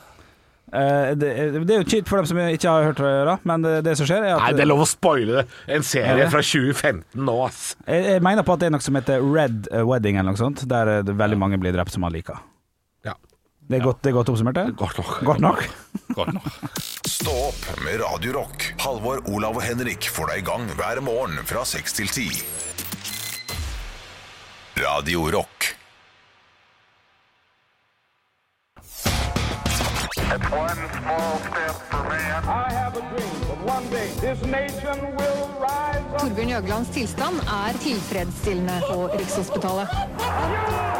Speaker 6: Eh, det, det er jo kjipt for dem som ikke har hørt det, da, men eh, det, det som skjer, er at
Speaker 5: Nei, det er lov å spoile det. En
Speaker 6: Ja,
Speaker 5: serie
Speaker 6: det.
Speaker 5: fra 2015 nå, ass.
Speaker 6: jeg, jeg mener på at det er noe som heter Red eh, Wedding, eller noe sånt, der eh, det veldig mange blir drept som man liker.
Speaker 5: Ja.
Speaker 6: Det er godt, det er godt oppsummert, det?
Speaker 5: Godt nok.
Speaker 6: Godt nok?
Speaker 4: Godt nok.
Speaker 1: Stå opp med Radio Rock. Halvor, Olav og Henrik får deg i gang hver morgen fra 6 til 10. Radio Rock.
Speaker 9: I have a dream that one day this nation will rise up.
Speaker 10: Torbjørn Jøglands tilstand er tilfredsstillende på Rikshospitalet.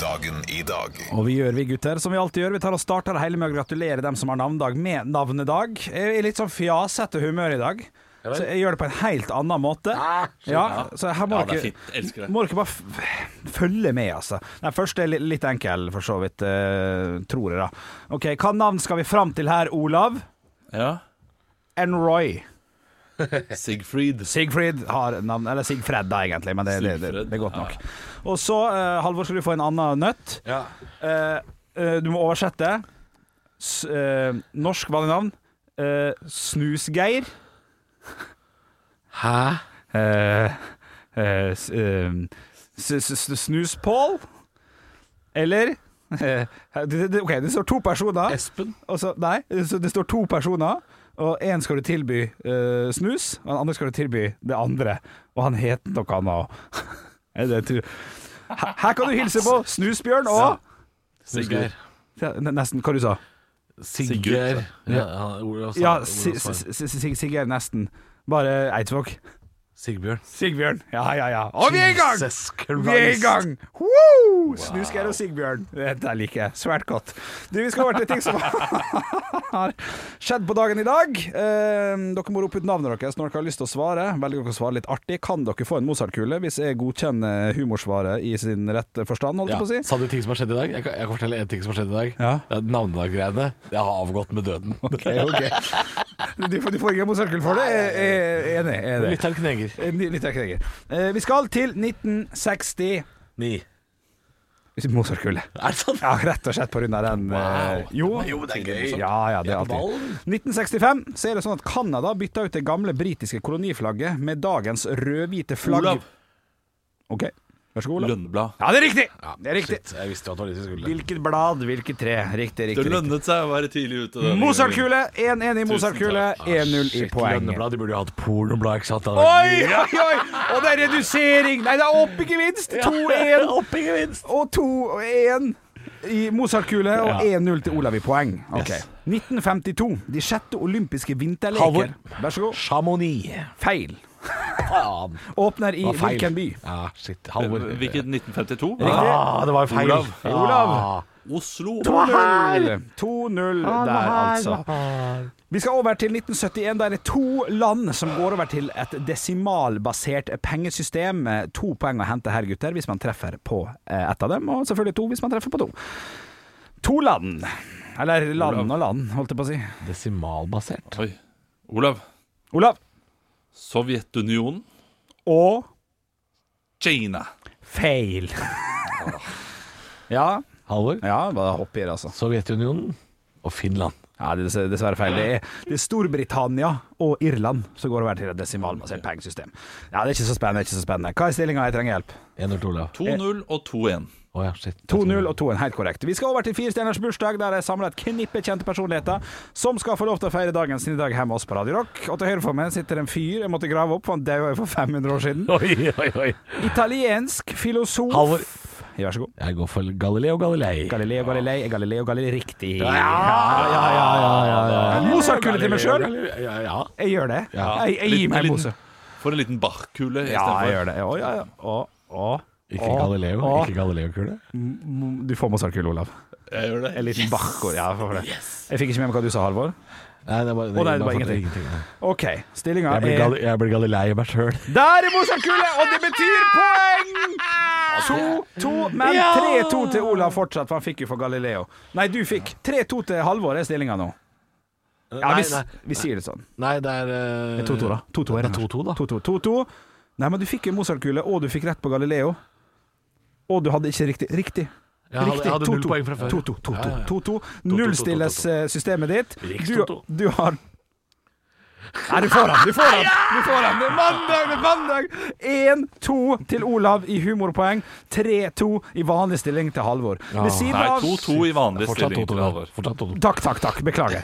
Speaker 1: Dagen i dag.
Speaker 6: Og vi gjør vi, gutter, som vi alltid gjør. Vi tar og starter det hele med å gratulere dem som har navnedag med navnedag. Jeg er i litt sånn fjasete humør i dag, så jeg gjør det på en helt annen måte. Ja, så her må
Speaker 4: Ah, Ja, det er
Speaker 6: dere
Speaker 4: fint. Elsker det.
Speaker 6: Må dere bare f følge med, altså. Den første er li- litt enkel, for så vidt, eh, tror jeg, da. Ok, Hva navn skal vi fram til her, Olav?
Speaker 4: Ja.
Speaker 6: Enroy.
Speaker 4: Sigfried.
Speaker 6: Sigfrid har navn Eller Sigfred, da, egentlig, men det, det, det, det er godt nok.
Speaker 4: Sigfred,
Speaker 6: Og så, eh, Halvor, skal du få en annen nøtt.
Speaker 5: Ja.
Speaker 6: Eh, eh, du må oversette. S eh, norsk vanlig navn. Eh, Snusgeir.
Speaker 5: Hæ?
Speaker 6: Eh, eh, s- eh, s- s- s- Snus-Pål? Eller eh, det, det, OK, det står to personer.
Speaker 5: Espen?
Speaker 6: Og så, nei, så det står to personer, og én skal du tilby eh, snus, og den andre skal du tilby det andre. Og han heter noe annet òg. Her her kan du hilse på Snusbjørn og
Speaker 5: Sigurd.
Speaker 6: Ja, ne- Nesten, hva du sa
Speaker 5: Sigurd. Ja, han- Olav sa-
Speaker 6: Ja,
Speaker 5: Olav
Speaker 6: si,
Speaker 5: sa-
Speaker 6: si, si, si, Sigurd nesten. Bare Eidsvåg.
Speaker 5: Sigbjørn.
Speaker 6: Sigbjørn. Ja, ja, ja. Og vi er i gang!
Speaker 5: Jesus
Speaker 6: Vi er i
Speaker 5: Christ.
Speaker 6: gang! Woo! Snusgeir og Sigbjørn. Dette liker jeg svært godt. Du, Vi skal over til ting som har skjedd på dagen i dag. Eh, dere må rope ut navnet deres når dere har lyst til å svare. Velger dere å svare litt artig, kan dere få en Mozart-kule hvis jeg godkjenner humorsvaret i sin rette forstand, holdt
Speaker 5: Ja.
Speaker 6: jeg på å si.
Speaker 5: Sa du ting som har skjedd i dag? Jeg kan, jeg kan fortelle en ting som har skjedd i dag.
Speaker 6: Ja.
Speaker 5: Det er Navnedaggreiene. Jeg har avgått med døden.
Speaker 6: Ok, ok. Du, får- du får ingen Mozart-kule for det. Jeg- jeg- jeg er Enig. jeg er enig.
Speaker 5: Litt av en kneger.
Speaker 6: Eh, Litt av kneger. Eh, Vi skal til 1960.
Speaker 5: Ni.
Speaker 6: Mozart-kule.
Speaker 5: Er det sant?
Speaker 6: Ja, rett og slett på grunn av den eh, Jo,
Speaker 5: Jo, men det er gøy.
Speaker 6: Ja, ja, det er alltid. 1965 så er det sånn at Canada bytta ut det gamle britiske koloniflagget med dagens rød-hvite flagg.
Speaker 4: Olav
Speaker 6: Ok, vær så god, Olav.
Speaker 4: Lønneblad.
Speaker 6: Ja, det er riktig!
Speaker 5: Ja,
Speaker 6: Det er riktig.
Speaker 5: shit, jeg visste jo at det var litt i skulden.
Speaker 6: Hvilket blad, hvilket tre. Riktig,
Speaker 4: Det
Speaker 6: riktig. riktig.
Speaker 4: lønnet seg å være tidlig ute. denne gangen.
Speaker 6: Mozart-kule! 1-1 i Mozart-kule.
Speaker 4: takk.
Speaker 6: 1-0 i
Speaker 5: Ah, Shit,
Speaker 6: poeng.
Speaker 5: Lønneblad, de burde jo hatt pornoblad, ikke sant?
Speaker 6: Oi, oi, oi! Og det er redusering! Nei, det er opp i gevinst! 2-1.
Speaker 5: Opp i gevinst!
Speaker 6: Og 2-1 i Mozart-kule, og 1-0 til Olav i poeng. Ok.
Speaker 5: Yes.
Speaker 6: 1952, de sjette olympiske
Speaker 5: Halvor.
Speaker 6: vinterleker. Vær så god.
Speaker 5: Chamonix.
Speaker 6: Feil.
Speaker 5: Faen.
Speaker 6: Åpner i
Speaker 5: Det var feil.
Speaker 6: hvilken by?
Speaker 5: Ja, shit. Halvor.
Speaker 4: Hvilket 1952?
Speaker 5: Ah, det var feil.
Speaker 4: Olav.
Speaker 5: Ja.
Speaker 6: Olav.
Speaker 4: Oslo.
Speaker 6: 2-0 2-0 der, altså. Vi skal over til 1971, der det er to land som går over til et desimalbasert pengesystem. To poeng å hente her, gutter, hvis man treffer på eh, ett av dem, og selvfølgelig to hvis man treffer på to. To land. Eller land og land, holdt jeg på å si.
Speaker 5: Desimalbasert.
Speaker 4: Oi. Olav.
Speaker 6: Olav.
Speaker 4: Sovjetunionen.
Speaker 6: Og
Speaker 4: Kina.
Speaker 6: feil. Ja,
Speaker 5: Halvor.
Speaker 6: ja, bare hopp i det, altså.
Speaker 5: Sovjetunionen og Finland.
Speaker 6: Ja, det er dessverre- dessverre feil. Det er, det er Storbritannia og Irland som går over til et desimalbasert pengesystem. Ja, det er ikke så spennende. det er ikke så spennende. Hva er stillinga? Jeg trenger hjelp.
Speaker 5: 1-0 Olav.
Speaker 4: 2-0 og 2-1.
Speaker 5: Å ja, shit.
Speaker 6: 2-0 og 2-1, helt korrekt. Vi skal over til firestjerners bursdag, der jeg samler et knippe kjente personligheter som skal få lov til å feire dagen sin i dag hjemme hos oss på Radio Rock. Og til høyre for meg sitter en fyr jeg måtte grave opp, for han døde for 500 år siden.
Speaker 5: Oi, oi, oi.
Speaker 6: Italiensk filosof
Speaker 5: Halvor.
Speaker 6: Ja, Vær så god.
Speaker 5: Jeg går for Galileo Galilei.
Speaker 6: Galileo Galilei er Galileo Galilei riktig. Ja,
Speaker 5: Ah, ja, ja, ja, ja, ja.
Speaker 6: Mozart-kule til meg sjøl.
Speaker 5: Galilei- Ja, ja.
Speaker 6: Jeg gjør det.
Speaker 5: Ja.
Speaker 6: Jeg, jeg gir
Speaker 4: Liten-
Speaker 6: meg en
Speaker 4: liten-
Speaker 6: pose.
Speaker 4: For en liten Bach-kule
Speaker 6: Ja, jeg
Speaker 4: istedenfor.
Speaker 6: gjør det. Ja, ja, ja. Og, og,
Speaker 5: Ikke
Speaker 6: og-
Speaker 5: Galileo,
Speaker 6: og-
Speaker 5: ikke Galileo-kule.
Speaker 6: Du får Mozart-kule, Olav.
Speaker 4: Jeg gjør
Speaker 6: En
Speaker 4: det.
Speaker 6: liten bakkord. Ja, for det. Jeg fikk ikke med meg hva du sa, Halvor.
Speaker 5: Nei, det var,
Speaker 6: Å, nei, det var ingenting.
Speaker 5: nei. Eh,
Speaker 6: OK, stillinga
Speaker 5: Jeg blir,
Speaker 6: er
Speaker 5: gal, jeg blir Galilei i meg sjøl.
Speaker 6: Der er Mozart-kule, og det betyr poeng! 2-2, men 3-2 til Olav fortsatt, for han fikk jo for Galileo. Nei, du fikk. 3-2 til Halvor er stillinga nå. Ja, vi,
Speaker 5: Eh, nei,
Speaker 6: vi sier det sånn.
Speaker 5: nei, det er eh,
Speaker 6: 2-2, da. 2-2 er det.
Speaker 5: det er 2-2 da.
Speaker 6: 2-2, 2-2. Nei, men du fikk jo Mozart-kule, og du fikk rett på Galileo. Og du hadde ikke riktig. Riktig.
Speaker 5: Jeg hadde, jeg hadde null poeng fra før.
Speaker 6: 2-2. 2-2,
Speaker 5: Ja, ja.
Speaker 6: 2-2. Nullstilles eh, systemet ditt.
Speaker 5: Riks
Speaker 6: Du,
Speaker 5: 2-2.
Speaker 6: du har Nei, du får han! Du får han! Du får han. Det er mandag! Det er mandag! 1-2 til Olav i humorpoeng. 3-2 i vanlig stilling til Halvor. Ved siden
Speaker 4: Nei,
Speaker 6: av
Speaker 4: 2-2 i vanlig
Speaker 5: Fortsatt
Speaker 4: stilling.
Speaker 5: 2-2
Speaker 4: til
Speaker 5: da.
Speaker 4: Halvor.
Speaker 5: Fortsatt 2-2.
Speaker 6: Takk, takk, takk. Beklager.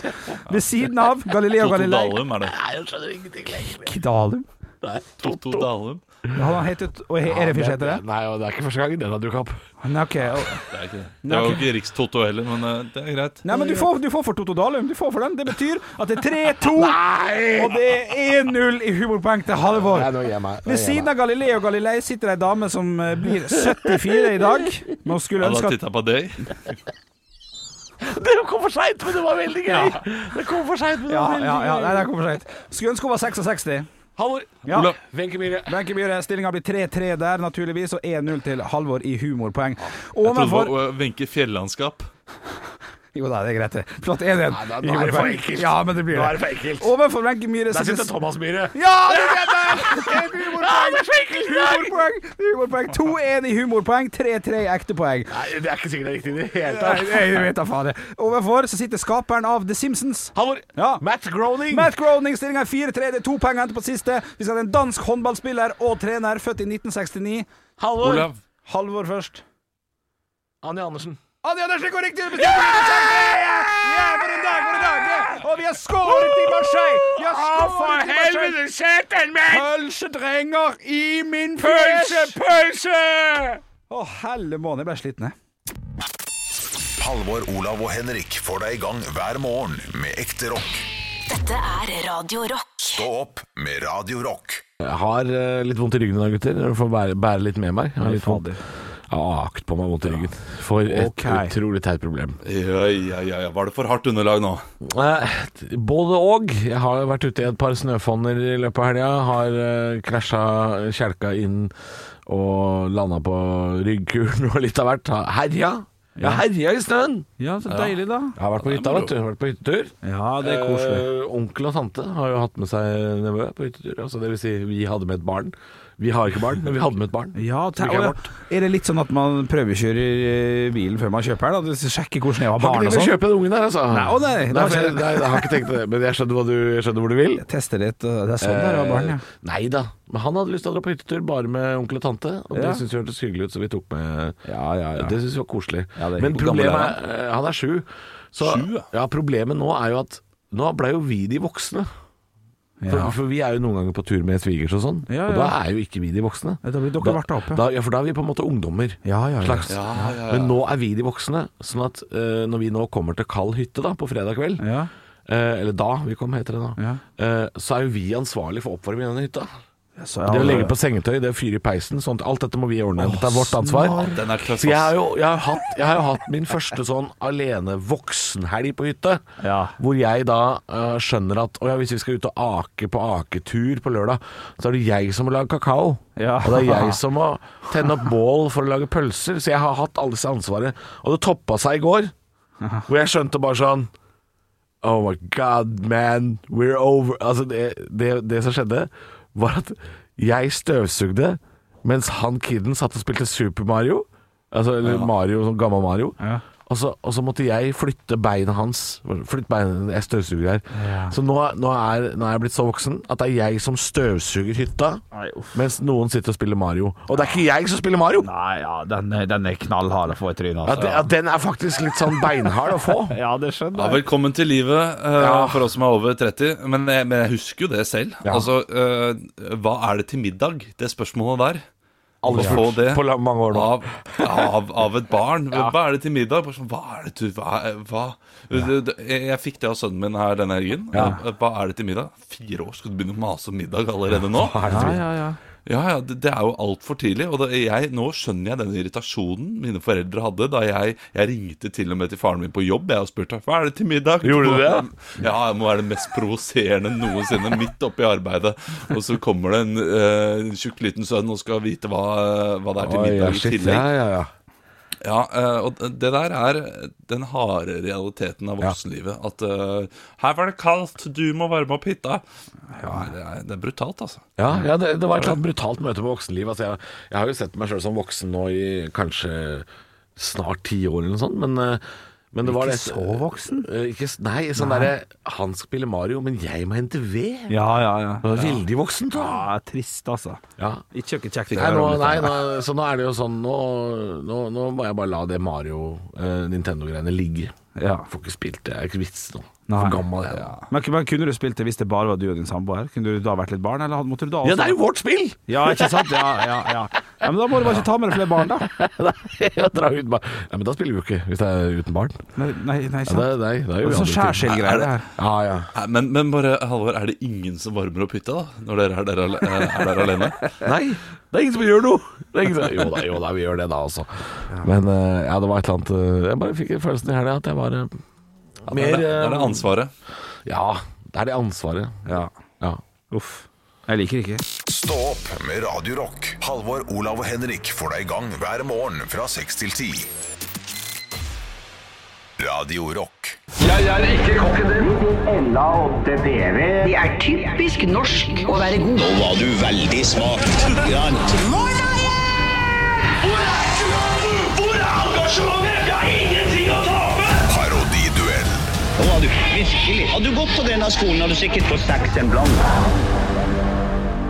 Speaker 6: Ved siden av Galileo
Speaker 4: 2-2
Speaker 6: Galilei
Speaker 4: Dalum er det.
Speaker 6: Dalum?
Speaker 4: 2-2 Dalum.
Speaker 6: Han har hetet Og Erefis heter det?
Speaker 5: Nei, og det er ikke første gangen den har dukka opp.
Speaker 6: Nei, ok.
Speaker 4: Det er ikke det. Det var jo ikke Rikstoto heller, men eh, det er greit.
Speaker 6: Nei, men du får, du får for Toto Dalum. Du får for den. Det betyr at det er 3-2, og det er 1-0 i humorpoeng til Halvor.
Speaker 5: Nei, nå gir jeg meg. Nå gir
Speaker 6: Ved
Speaker 5: jeg
Speaker 6: siden
Speaker 5: meg.
Speaker 6: av Galileo Galilei sitter ei dame som eh, blir 74 i dag. Man skulle
Speaker 4: Hadde
Speaker 6: ønske
Speaker 4: han
Speaker 6: at
Speaker 4: titta på deg?
Speaker 5: Det kom for seint, men det var veldig gøy! Det kom for seint, men det
Speaker 6: ja,
Speaker 5: var
Speaker 6: ja, ja,
Speaker 5: veldig
Speaker 6: nei,
Speaker 5: gøy.
Speaker 6: det kommer sent. Skulle ønske hun var 66.
Speaker 5: Halvor.
Speaker 6: Ja.
Speaker 5: Olav. Wenche Myhre.
Speaker 6: Wenche Myhre, stillinga blir 3-3 der, naturligvis, og 1-0 til Halvor i humorpoeng.
Speaker 4: Jeg trodde det
Speaker 6: Ovenfor
Speaker 4: var eh, Wenche Fjellandskap.
Speaker 6: Jo da, det er greit, det. Flott 1-1
Speaker 5: da-
Speaker 6: i
Speaker 5: nå er det for
Speaker 6: humorpoeng.
Speaker 5: ekkelt.
Speaker 6: Ja, men det blir
Speaker 5: Nå er det
Speaker 6: det.
Speaker 5: for ekkelt.
Speaker 6: Ovenfor Wenche Myhre
Speaker 5: Der sitter Thomas Myhre.
Speaker 6: Ja, det er det! En humorpoeng.
Speaker 5: det er for ekkelt, nei!
Speaker 6: humorpoeng! humorpoeng. 2-1 i humorpoeng, 3-3 i ekte poeng.
Speaker 5: Nei, det er ikke sikkert det er riktig i det hele
Speaker 6: Nei,
Speaker 5: tatt.
Speaker 6: jeg vet da faen. jeg. Ovenfor så sitter skaperen av The Simpsons.
Speaker 5: Halvor.
Speaker 6: Ja.
Speaker 5: Matt Groening.
Speaker 6: Matt Groening, stillinga er 4-3. Det er to poeng å hente på siste. Vi skal til en dansk håndballspiller og trener, født i 1969.
Speaker 5: Halvor.
Speaker 4: Olav.
Speaker 6: Halvor først.
Speaker 5: Anja Andersen.
Speaker 6: Anja Andersen går riktig! Det betyr poeng! Ja, for en dag, for en dag! det. Og vi har skåret i Marseille! Vi har skåret i Marseille!
Speaker 5: satan, mann!
Speaker 6: Pølsedrenger i min fjes!
Speaker 5: pølse!
Speaker 6: Å, helle måned, jeg ble sliten, jeg.
Speaker 1: Halvor, Olav og Henrik får deg i gang hver morgen med ekte rock.
Speaker 2: Dette er Radio Rock.
Speaker 1: Stå opp med Radio Rock.
Speaker 5: Jeg har eh, litt vondt i ryggen i dag, gutter. Dere får bære, bære litt med meg. Jeg har litt vondt. Jeg har akt på meg vondt i ryggen. For et
Speaker 6: Ok.
Speaker 5: utrolig teit problem.
Speaker 4: Ja, ja, ja, ja. Var det for hardt underlag nå?
Speaker 5: Eh, både og. Jeg har jo vært ute i et par snøfonner i løpet av helga. Har eh, krasja kjelka inn og landa på ryggkulen og litt av hvert. Har Herja! Jeg har herja i snøen!
Speaker 6: Ja, så deilig, da.
Speaker 5: Jeg har vært på hytta, vet du. Jeg har vært på hyttetur.
Speaker 6: Ja,
Speaker 5: Eh, onkel og tante har jo hatt med seg nevø på hyttetur. Altså, det vil si, vi hadde med et barn. Vi har ikke barn, men vi hadde med et barn.
Speaker 6: Ja,
Speaker 5: Som
Speaker 6: te-
Speaker 5: Eh, ikke er
Speaker 6: å,
Speaker 5: vårt.
Speaker 6: ja. Er det litt sånn at man prøvekjører eh, bilen før man kjøper den? da? Du Sjekker hvordan jeg har
Speaker 5: Har
Speaker 6: barn
Speaker 5: ikke
Speaker 6: og
Speaker 5: tenkt å
Speaker 6: sånn?
Speaker 5: kjøpe den ungen der, altså.
Speaker 6: Nei, å nei, det har
Speaker 5: for jeg,
Speaker 6: ikke-
Speaker 5: nei, jeg har ikke tenkt det. Men jeg skjønner, hva du, jeg skjønner hvor du vil.
Speaker 6: Teste litt. og Det er sånn det er å ha barn, ja.
Speaker 5: Eh, Nei da. Men han hadde lyst til å dra på hyttetur bare med onkel og tante, og
Speaker 6: Ja.
Speaker 5: det syntes vi hørtes hyggelig ut, så vi tok med
Speaker 6: Ja, ja, ja.
Speaker 5: Det syntes vi var koselig.
Speaker 6: Ja, det er
Speaker 5: Men
Speaker 6: hvor gammel er
Speaker 5: problemet er, eh, Han er sju. Så,
Speaker 4: Sju, ja.
Speaker 5: ja, problemet nå er jo at Nå blei jo vi de voksne. For,
Speaker 6: Ja.
Speaker 5: for vi er jo noen ganger på tur med svigers og sånn,
Speaker 6: Ja,
Speaker 5: og
Speaker 6: ja.
Speaker 5: da er jo ikke vi de voksne.
Speaker 6: Ja, da blir dere varta opp, ja.
Speaker 5: Da, ja, for da er vi på en måte ungdommer.
Speaker 6: Ja, ja, ja.
Speaker 5: Slags. Men nå er vi de voksne, sånn at eh, når vi nå kommer til kald hytte da, på fredag kveld,
Speaker 6: Ja.
Speaker 5: eh, eller da vi kom, heter det da, eh, så er jo vi ansvarlig for oppvarmingen av denne hytta.
Speaker 6: Så jeg
Speaker 5: Det å
Speaker 6: har-
Speaker 5: legge på sengetøy, det å fyre i peisen, sånt, alt dette må vi ordne. Dette er vårt ansvar.
Speaker 4: snar. Den er tøff,
Speaker 5: Så jeg har
Speaker 4: ass.
Speaker 5: jo, jeg har hatt, jeg har jo hatt min første sånn alene voksenhelg på hytte,
Speaker 6: Ja.
Speaker 5: hvor jeg da eh, skjønner at å ja, hvis vi skal ut og ake på aketur på lørdag, så er det jeg som må lage kakao.
Speaker 6: Ja.
Speaker 5: Og det er jeg som må tenne opp bål for å lage pølser. Så jeg har hatt alle disse ansvarene. Og det toppa seg i går, hvor jeg skjønte bare sånn Oh my god, man, we're over Altså, det, det, det som skjedde, var at jeg støvsugde mens han kiden satt og spilte Super Mario. Altså eller Mario, sånn gammel Mario.
Speaker 6: Ja.
Speaker 5: Og, så, og så måtte jeg flytte beina hans. Flytte beina, Jeg støvsuger her. Så nå, nå, er, nå er jeg blitt så voksen at det er jeg som støvsuger hytta,
Speaker 6: Nei, uff.
Speaker 5: mens noen sitter og spiller Mario. Og det er ikke jeg som spiller Mario!
Speaker 6: Nei, ja, den, er- den er knallhard å få i trynet.
Speaker 5: Ja,
Speaker 6: Altså.
Speaker 5: den, ja, den er faktisk litt sånn beinhard å få.
Speaker 6: Ja, det
Speaker 4: Ja,
Speaker 6: skjønner jeg.
Speaker 4: velkommen til livet eh, for oss som er over 30. Men jeg, men jeg husker jo det selv.
Speaker 5: Ja.
Speaker 4: Altså, eh, hva er det til middag? Det spørsmålet der.
Speaker 5: Aldri
Speaker 4: Å få
Speaker 5: spurt
Speaker 4: det
Speaker 5: på la- mange år nå.
Speaker 4: av, av, av et barn. Hva er det til middag? Bare sånn, Hva er det du Hva? er- hva? Det- det- Jeg, jeg fikk det av sønnen min her denne helgen. Eh, Hva er det til middag? Fire år, skal du begynne å mase om middag allerede nå?
Speaker 5: Hva er det til?
Speaker 4: Ja, ja, det, det er jo altfor tidlig. Og det, jeg, nå skjønner jeg den irritasjonen mine foreldre hadde da jeg, jeg ringte til og med til faren min på jobb jeg og spurte hva er det til middag.
Speaker 5: Gjorde du det?
Speaker 4: Ja, det må være det mest provoserende noensinne midt oppi arbeidet. Og så kommer det en eh, en tjukk liten sønn og skal vite hva, eh, hva det er til
Speaker 5: Oi, ja,
Speaker 4: middag i
Speaker 5: shit,
Speaker 4: tillegg.
Speaker 5: ja, ja, ja.
Speaker 4: Ja, eh, og det der er den harde realiteten av voksenlivet. At eh, her var det kaldt, du må varme opp hytta. Ja, det er, det er brutalt, altså.
Speaker 5: Ja, ja det, det var et eller annet brutalt møte med voksenliv. Altså, jeg, jeg har jo sett meg sjøl som voksen nå i kanskje snart ti år eller noe sånt, men, eh, men det var
Speaker 6: Ikke
Speaker 5: det-
Speaker 6: så voksen?
Speaker 5: Eh, Ikke, s- nei, sånn derre Han spiller Mario, men jeg må hente ved. Det
Speaker 6: Ja, ja, ja.
Speaker 5: var Veldig voksen, da.
Speaker 6: ja trist, altså.
Speaker 5: Ja.
Speaker 6: Ikke ikke kjekt. å
Speaker 5: Nei,
Speaker 6: høre om
Speaker 5: nå,
Speaker 6: dette.
Speaker 5: nei nå, så nå er det jo sånn Nå, nå, nå må jeg bare la det Mario-Nintendo-greiene ligge.
Speaker 6: Ja.
Speaker 5: Får ikke spilt det. Jeg er ikke vits nå.
Speaker 6: Nei.
Speaker 5: For gammel jeg er.
Speaker 6: Ja. Men, men kunne du spilt det hvis det bare var du og din samboer? Kunne du da vært litt barn, eller hadde- måtte du da også
Speaker 5: Ja, det er jo vårt spill!
Speaker 6: Ja, ikke sant? Ja, ja, ja. ja men da må du bare ikke ta med deg flere barn, da.
Speaker 5: Jeg drar uten barn. Nei, men da spiller vi jo ikke, hvis det er uten barn.
Speaker 6: Nei, nei,
Speaker 5: Ja,
Speaker 6: nei ikke
Speaker 5: det,
Speaker 6: sant?
Speaker 5: nei, det er jo
Speaker 6: Det er sånn
Speaker 5: andre ting.
Speaker 6: skjærskjellgreier, det her.
Speaker 5: Ja, ja.
Speaker 4: Nei, Men, men bare, Halvor, er det ingen som varmer opp hytta, da? Når dere er der, ale- er der alene?
Speaker 5: Nei, det er ingen som gjør noe. Det er ingen som, jo, da, jo da, vi gjør det da, altså. Men eh, ja, det var et eller annet eh, Jeg bare fikk en følelsen i helga at jeg var eh,
Speaker 4: Det er
Speaker 5: mer
Speaker 4: det, det, er det
Speaker 5: eh,
Speaker 4: ansvaret.
Speaker 5: Ja, det er det ansvaret.
Speaker 6: Ja.
Speaker 5: Ja.
Speaker 6: Uff. Jeg liker ikke.
Speaker 1: Stå opp med Radio Rock. Halvor, Olav og Henrik får deg i gang hver morgen fra 6 til 10. Radio Rock. Parodiduell.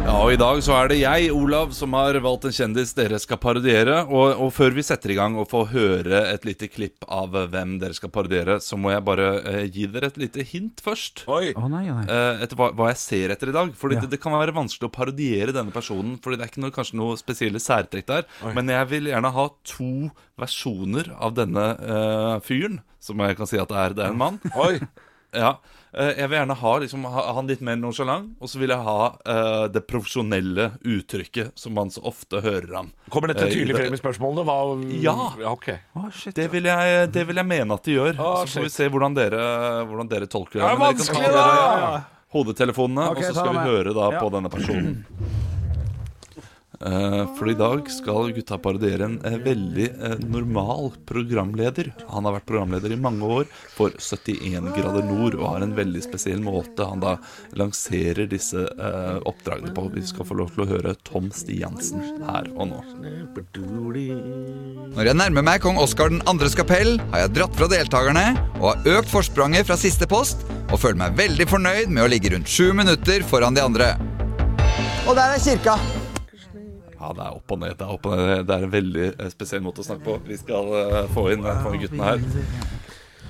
Speaker 4: Ja, og I dag så er det jeg, Olav, som har valgt en kjendis dere skal parodiere. Og, og før vi setter i gang og får høre et lite klipp av hvem dere skal parodiere, så må jeg bare eh, gi dere et lite hint først.
Speaker 5: Oi.
Speaker 6: Å nei, å nei.
Speaker 4: eh, etter hva, hva jeg ser etter i dag. Fordi
Speaker 6: Ja.
Speaker 4: det, det kan være vanskelig å parodiere denne personen. Fordi det er ikke noe, kanskje noe spesielle særtrekk der. Men jeg vil gjerne ha to versjoner av denne eh, fyren. Som jeg kan si at det er. Det er en mann.
Speaker 5: Oi.
Speaker 4: Ja. Eh, jeg vil gjerne ha, liksom, ha han litt mer nonchalant. Og så vil jeg ha eh, det profesjonelle uttrykket som man så ofte hører ham.
Speaker 5: Kommer dette
Speaker 4: Eh,
Speaker 5: tydelig
Speaker 4: det-
Speaker 5: frem i spørsmålene? Hva,
Speaker 4: Ja.
Speaker 5: Mm, ok.
Speaker 6: Å, shit.
Speaker 4: Det vil, jeg, det vil jeg mene at de gjør.
Speaker 5: Ah,
Speaker 4: så får vi
Speaker 5: shit.
Speaker 4: se hvordan dere, hvordan dere tolker det.
Speaker 5: Det er
Speaker 4: Men dere kan ta
Speaker 5: vanskelig,
Speaker 4: dere Hodetelefonene,
Speaker 6: Ok,
Speaker 4: og så
Speaker 6: ta
Speaker 4: skal vi
Speaker 6: med.
Speaker 4: høre da
Speaker 6: Ja.
Speaker 4: på denne personen. Eh, for i dag skal gutta parodiere en eh, veldig eh, normal programleder. Han har vært programleder i mange år for 71 grader nord og har en veldig spesiell måte han da lanserer disse eh, oppdragene på. Vi skal få lov til å høre Tom Stiansen her og nå.
Speaker 11: Når jeg nærmer meg kong Oskar 2.s kapell, har jeg dratt fra deltakerne og har økt forspranget fra siste post og føler meg veldig fornøyd med å ligge rundt sju minutter foran de andre. Og der er kirka.
Speaker 4: Ja, det er opp og ned. Det er, opp og ned. Det er en veldig eh, spesiell måte å snakke på. Vi skal eh, få inn eh, få inn guttene her.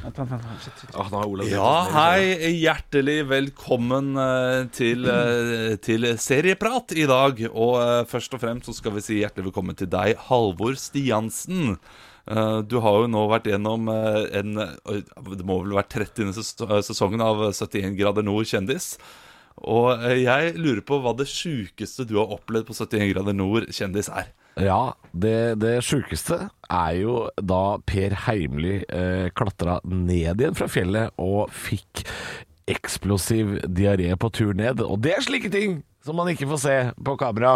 Speaker 5: Ah, nå har Olav
Speaker 4: Ja, hei. Hjertelig velkommen eh, til, eh, til Serieprat i dag. Og eh, først og fremst så skal vi si hjertelig velkommen til deg, Halvor Stiansen. Eh, Du har jo nå vært gjennom eh, en eh, Det må vel være 30. ses- eh, sesongen av 71 grader nord kjendis. Og eh, jeg lurer på hva det sjukeste du har opplevd på 71 grader nord kjendis er.
Speaker 5: Ja, det, det sjukeste er jo da Per Heimly eh, klatra ned igjen fra fjellet og fikk eksplosiv diaré på tur ned. Og det er slike ting som man ikke får se på kamera,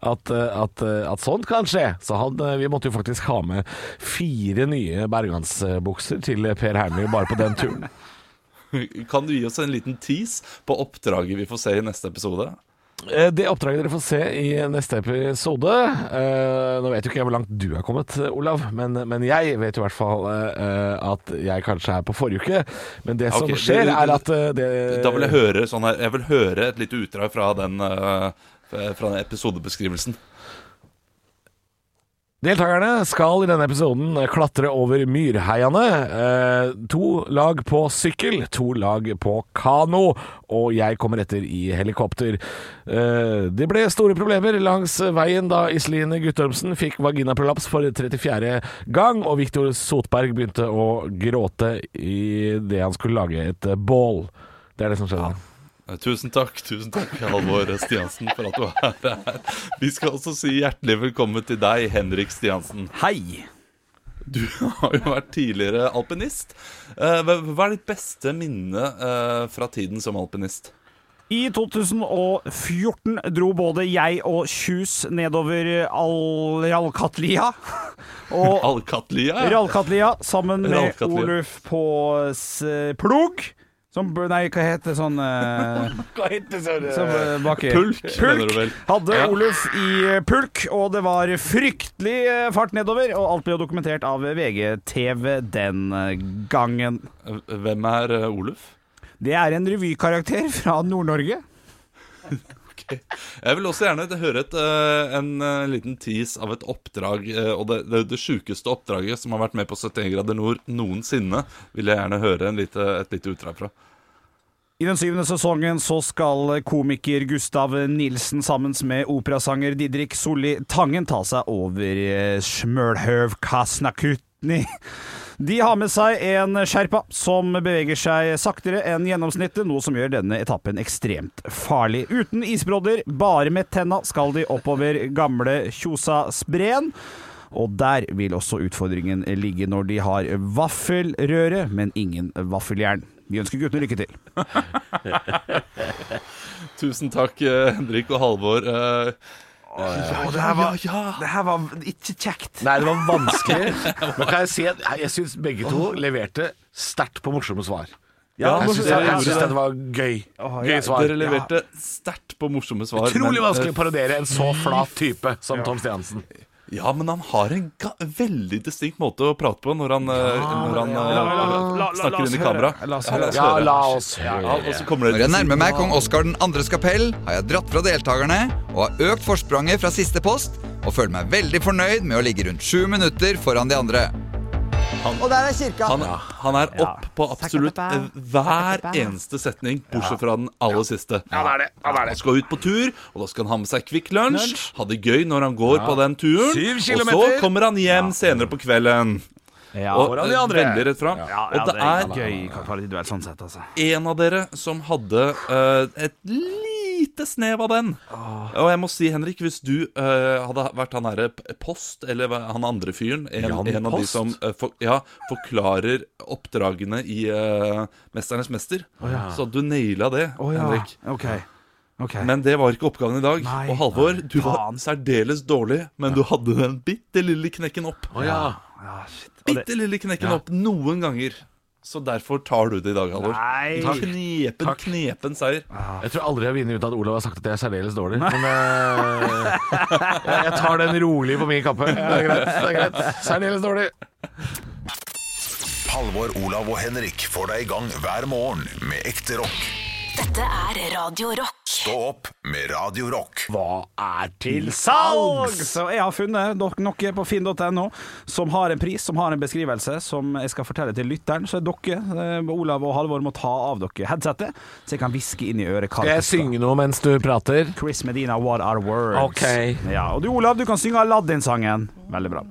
Speaker 5: at, eh, at, eh, at sånt kan skje. Så han, eh, vi måtte jo faktisk ha med fire nye bergansbukser til Per Heimly bare på den turen.
Speaker 4: Kan du gi oss en liten tease på oppdraget vi får se i neste episode?
Speaker 5: Eh, Det oppdraget dere får se i neste episode eh, Nå vet jo ikke jeg hvor langt du er kommet, eh, Olav, men, men jeg vet jo i hvert fall eh, at jeg kanskje er på forrige uke. Men det som
Speaker 4: Ok,
Speaker 5: skjer,
Speaker 4: du- du-
Speaker 5: er at eh, det
Speaker 4: Da vil jeg høre, sånn her, jeg vil høre et lite utdrag fra den, eh, fra den episodebeskrivelsen.
Speaker 5: Deltakerne skal i denne episoden klatre over myrheiene. Eh, to lag på sykkel, to lag på kano, og jeg kommer etter i helikopter. Eh, det ble store problemer langs veien da Iselin Guttormsen fikk vaginaprolaps for 34. gang, og Viktor Sotberg begynte å gråte i det han skulle lage et bål. Det er det som skjedde.
Speaker 4: Eh, Tusen takk, tusen takk, Halvor Stiansen, for at du er her. Vi skal også si hjertelig velkommen til deg, Henrik Stiansen.
Speaker 12: Hei!
Speaker 4: Du har jo vært tidligere alpinist. Eh, Hva hva er ditt beste minne eh, fra tiden som alpinist?
Speaker 6: I 2014 dro både jeg og Kjus nedover Al Ralkatlia. Og
Speaker 4: Alcatlia?
Speaker 6: Ralkatlia sammen med
Speaker 4: Ralkatlia.
Speaker 6: Oluf på s eh, plog. Som, b- nei, hva heter sånn eh,
Speaker 5: Hva heter sånn,
Speaker 6: som eh, baker?
Speaker 4: Pulk, mener
Speaker 6: Pulk.
Speaker 4: du vel?
Speaker 6: Hadde
Speaker 4: Ja.
Speaker 6: Oluf i eh, pulk, og det var fryktelig eh, fart nedover. Og alt ble jo dokumentert av VGTV den eh, gangen.
Speaker 4: Hvem er eh, Oluf?
Speaker 6: Det er en revykarakter fra Nord-Norge.
Speaker 4: Jeg vil også gjerne høre et, eh, en eh, liten tease av et oppdrag, eh, og det, det, det sjukeste oppdraget som har vært med på 71 grader nord noensinne, vil jeg gjerne høre en lite, et lite utdrag fra.
Speaker 6: I den syvende sesongen så skal komiker Gustav Nilsen sammen med operasanger Didrik Solli Tangen ta seg over eh, Smølhøv Kasnakutni. De har med seg en sherpa som beveger seg saktere enn gjennomsnittet, noe som gjør denne etappen ekstremt farlig. Uten isbrodder, bare med tenna skal de oppover gamle Kjosaspren. Og der vil også utfordringen ligge når de har vaffelrøre, men ingen vaffeljern. Vi ønsker guttene lykke til.
Speaker 4: Tusen takk, eh, Henrik og Halvor. eh.
Speaker 5: det her var-
Speaker 6: ikke kjekt.
Speaker 5: Nei, det var vanskelig. Men kan jeg si at jeg syns begge to leverte sterkt på morsomme svar.
Speaker 4: Ja,
Speaker 5: jeg syns
Speaker 4: dere gjorde det.
Speaker 5: dette var gøy.
Speaker 6: Åh,
Speaker 5: Gøy
Speaker 6: ja,
Speaker 5: svar.
Speaker 4: Dere leverte sterkt på morsomme svar.
Speaker 5: Utrolig
Speaker 4: men,
Speaker 5: vanskelig
Speaker 4: eh,
Speaker 5: å parodiere en så flat type som Tom Stiansen.
Speaker 4: Ja, men han har en ga veldig distinkt måte å prate på når han, eh, når han eh, snakker inn i kamera.
Speaker 5: Ja, la oss
Speaker 4: Ja,
Speaker 5: høre.
Speaker 4: og så kommer
Speaker 11: Når
Speaker 4: det
Speaker 11: jeg nærmer meg kong Oskar den andres kapell, har jeg dratt fra deltakerne og har økt forspranget fra siste post, og føler meg veldig fornøyd med å ligge rundt sju minutter foran de andre.
Speaker 13: Og der er kirka.
Speaker 4: Han, han er opp på absolutt eh, hver eneste setning, bortsett fra den aller siste. Han skal ut på tur, og da skal han ha med seg Kvikk Lunsj. Ha det gøy når han går på den turen.
Speaker 5: Syv
Speaker 4: Og så
Speaker 5: kilometer.
Speaker 4: kommer han hjem senere på kvelden.
Speaker 6: Ja,
Speaker 4: Og
Speaker 5: foran de
Speaker 4: eh,
Speaker 5: andre.
Speaker 4: veldig rett fram. Og det er
Speaker 6: gøy karakter duell sånn sett, altså.
Speaker 4: en av dere som hadde eh, et lite snev av den.
Speaker 5: Ah.
Speaker 4: Og jeg må si, Henrik, hvis du eh, hadde vært han herre P- Post, eller hva- han andre fyren En,
Speaker 5: Jan
Speaker 4: en av de
Speaker 5: Post?
Speaker 4: som eh, for, ja, forklarer oppdragene i eh, 'Mesternes mester',
Speaker 6: ja.
Speaker 4: så hadde du naila det, Henrik.
Speaker 6: OK. ok
Speaker 4: Men det var ikke oppgaven i dag.
Speaker 6: Nei.
Speaker 4: og Halvor, du var særdeles dårlig, men du hadde den bitte lille knekken opp.
Speaker 5: Å ja.
Speaker 6: Ja, shit. Og det-
Speaker 4: Bitte lille knekken opp noen ganger. Så derfor tar du det i dag, Halvor.
Speaker 6: Nei.
Speaker 4: En Knepen, knepen seier.
Speaker 5: Jeg tror aldri jeg har vunnet ut av at Olav har sagt at jeg er særdeles dårlig. Men eh, jeg jeg tar den rolig på min kappe. Det er greit. Det er greit. Særdeles dårlig.
Speaker 1: Halvor, Olav og Henrik får deg i gang hver morgen med ekte rock.
Speaker 2: Dette er Radio Rock.
Speaker 1: Stå opp med Radio Rock.
Speaker 5: Hva er til
Speaker 6: salgs! Så jeg har funnet nok- noe på finn.no som har en pris, som har en beskrivelse, som jeg skal fortelle til lytteren. Så dere, eh, Olav og Halvor, må ta av dere headsetet, så jeg kan hviske inn i øret. hva
Speaker 5: Skal
Speaker 6: det
Speaker 5: jeg synge noe mens du prater?
Speaker 6: Chris Medina, What Are Words.
Speaker 5: Ok.
Speaker 6: Ja, og du Olav, du kan synge Aladdin-sangen. Veldig bra.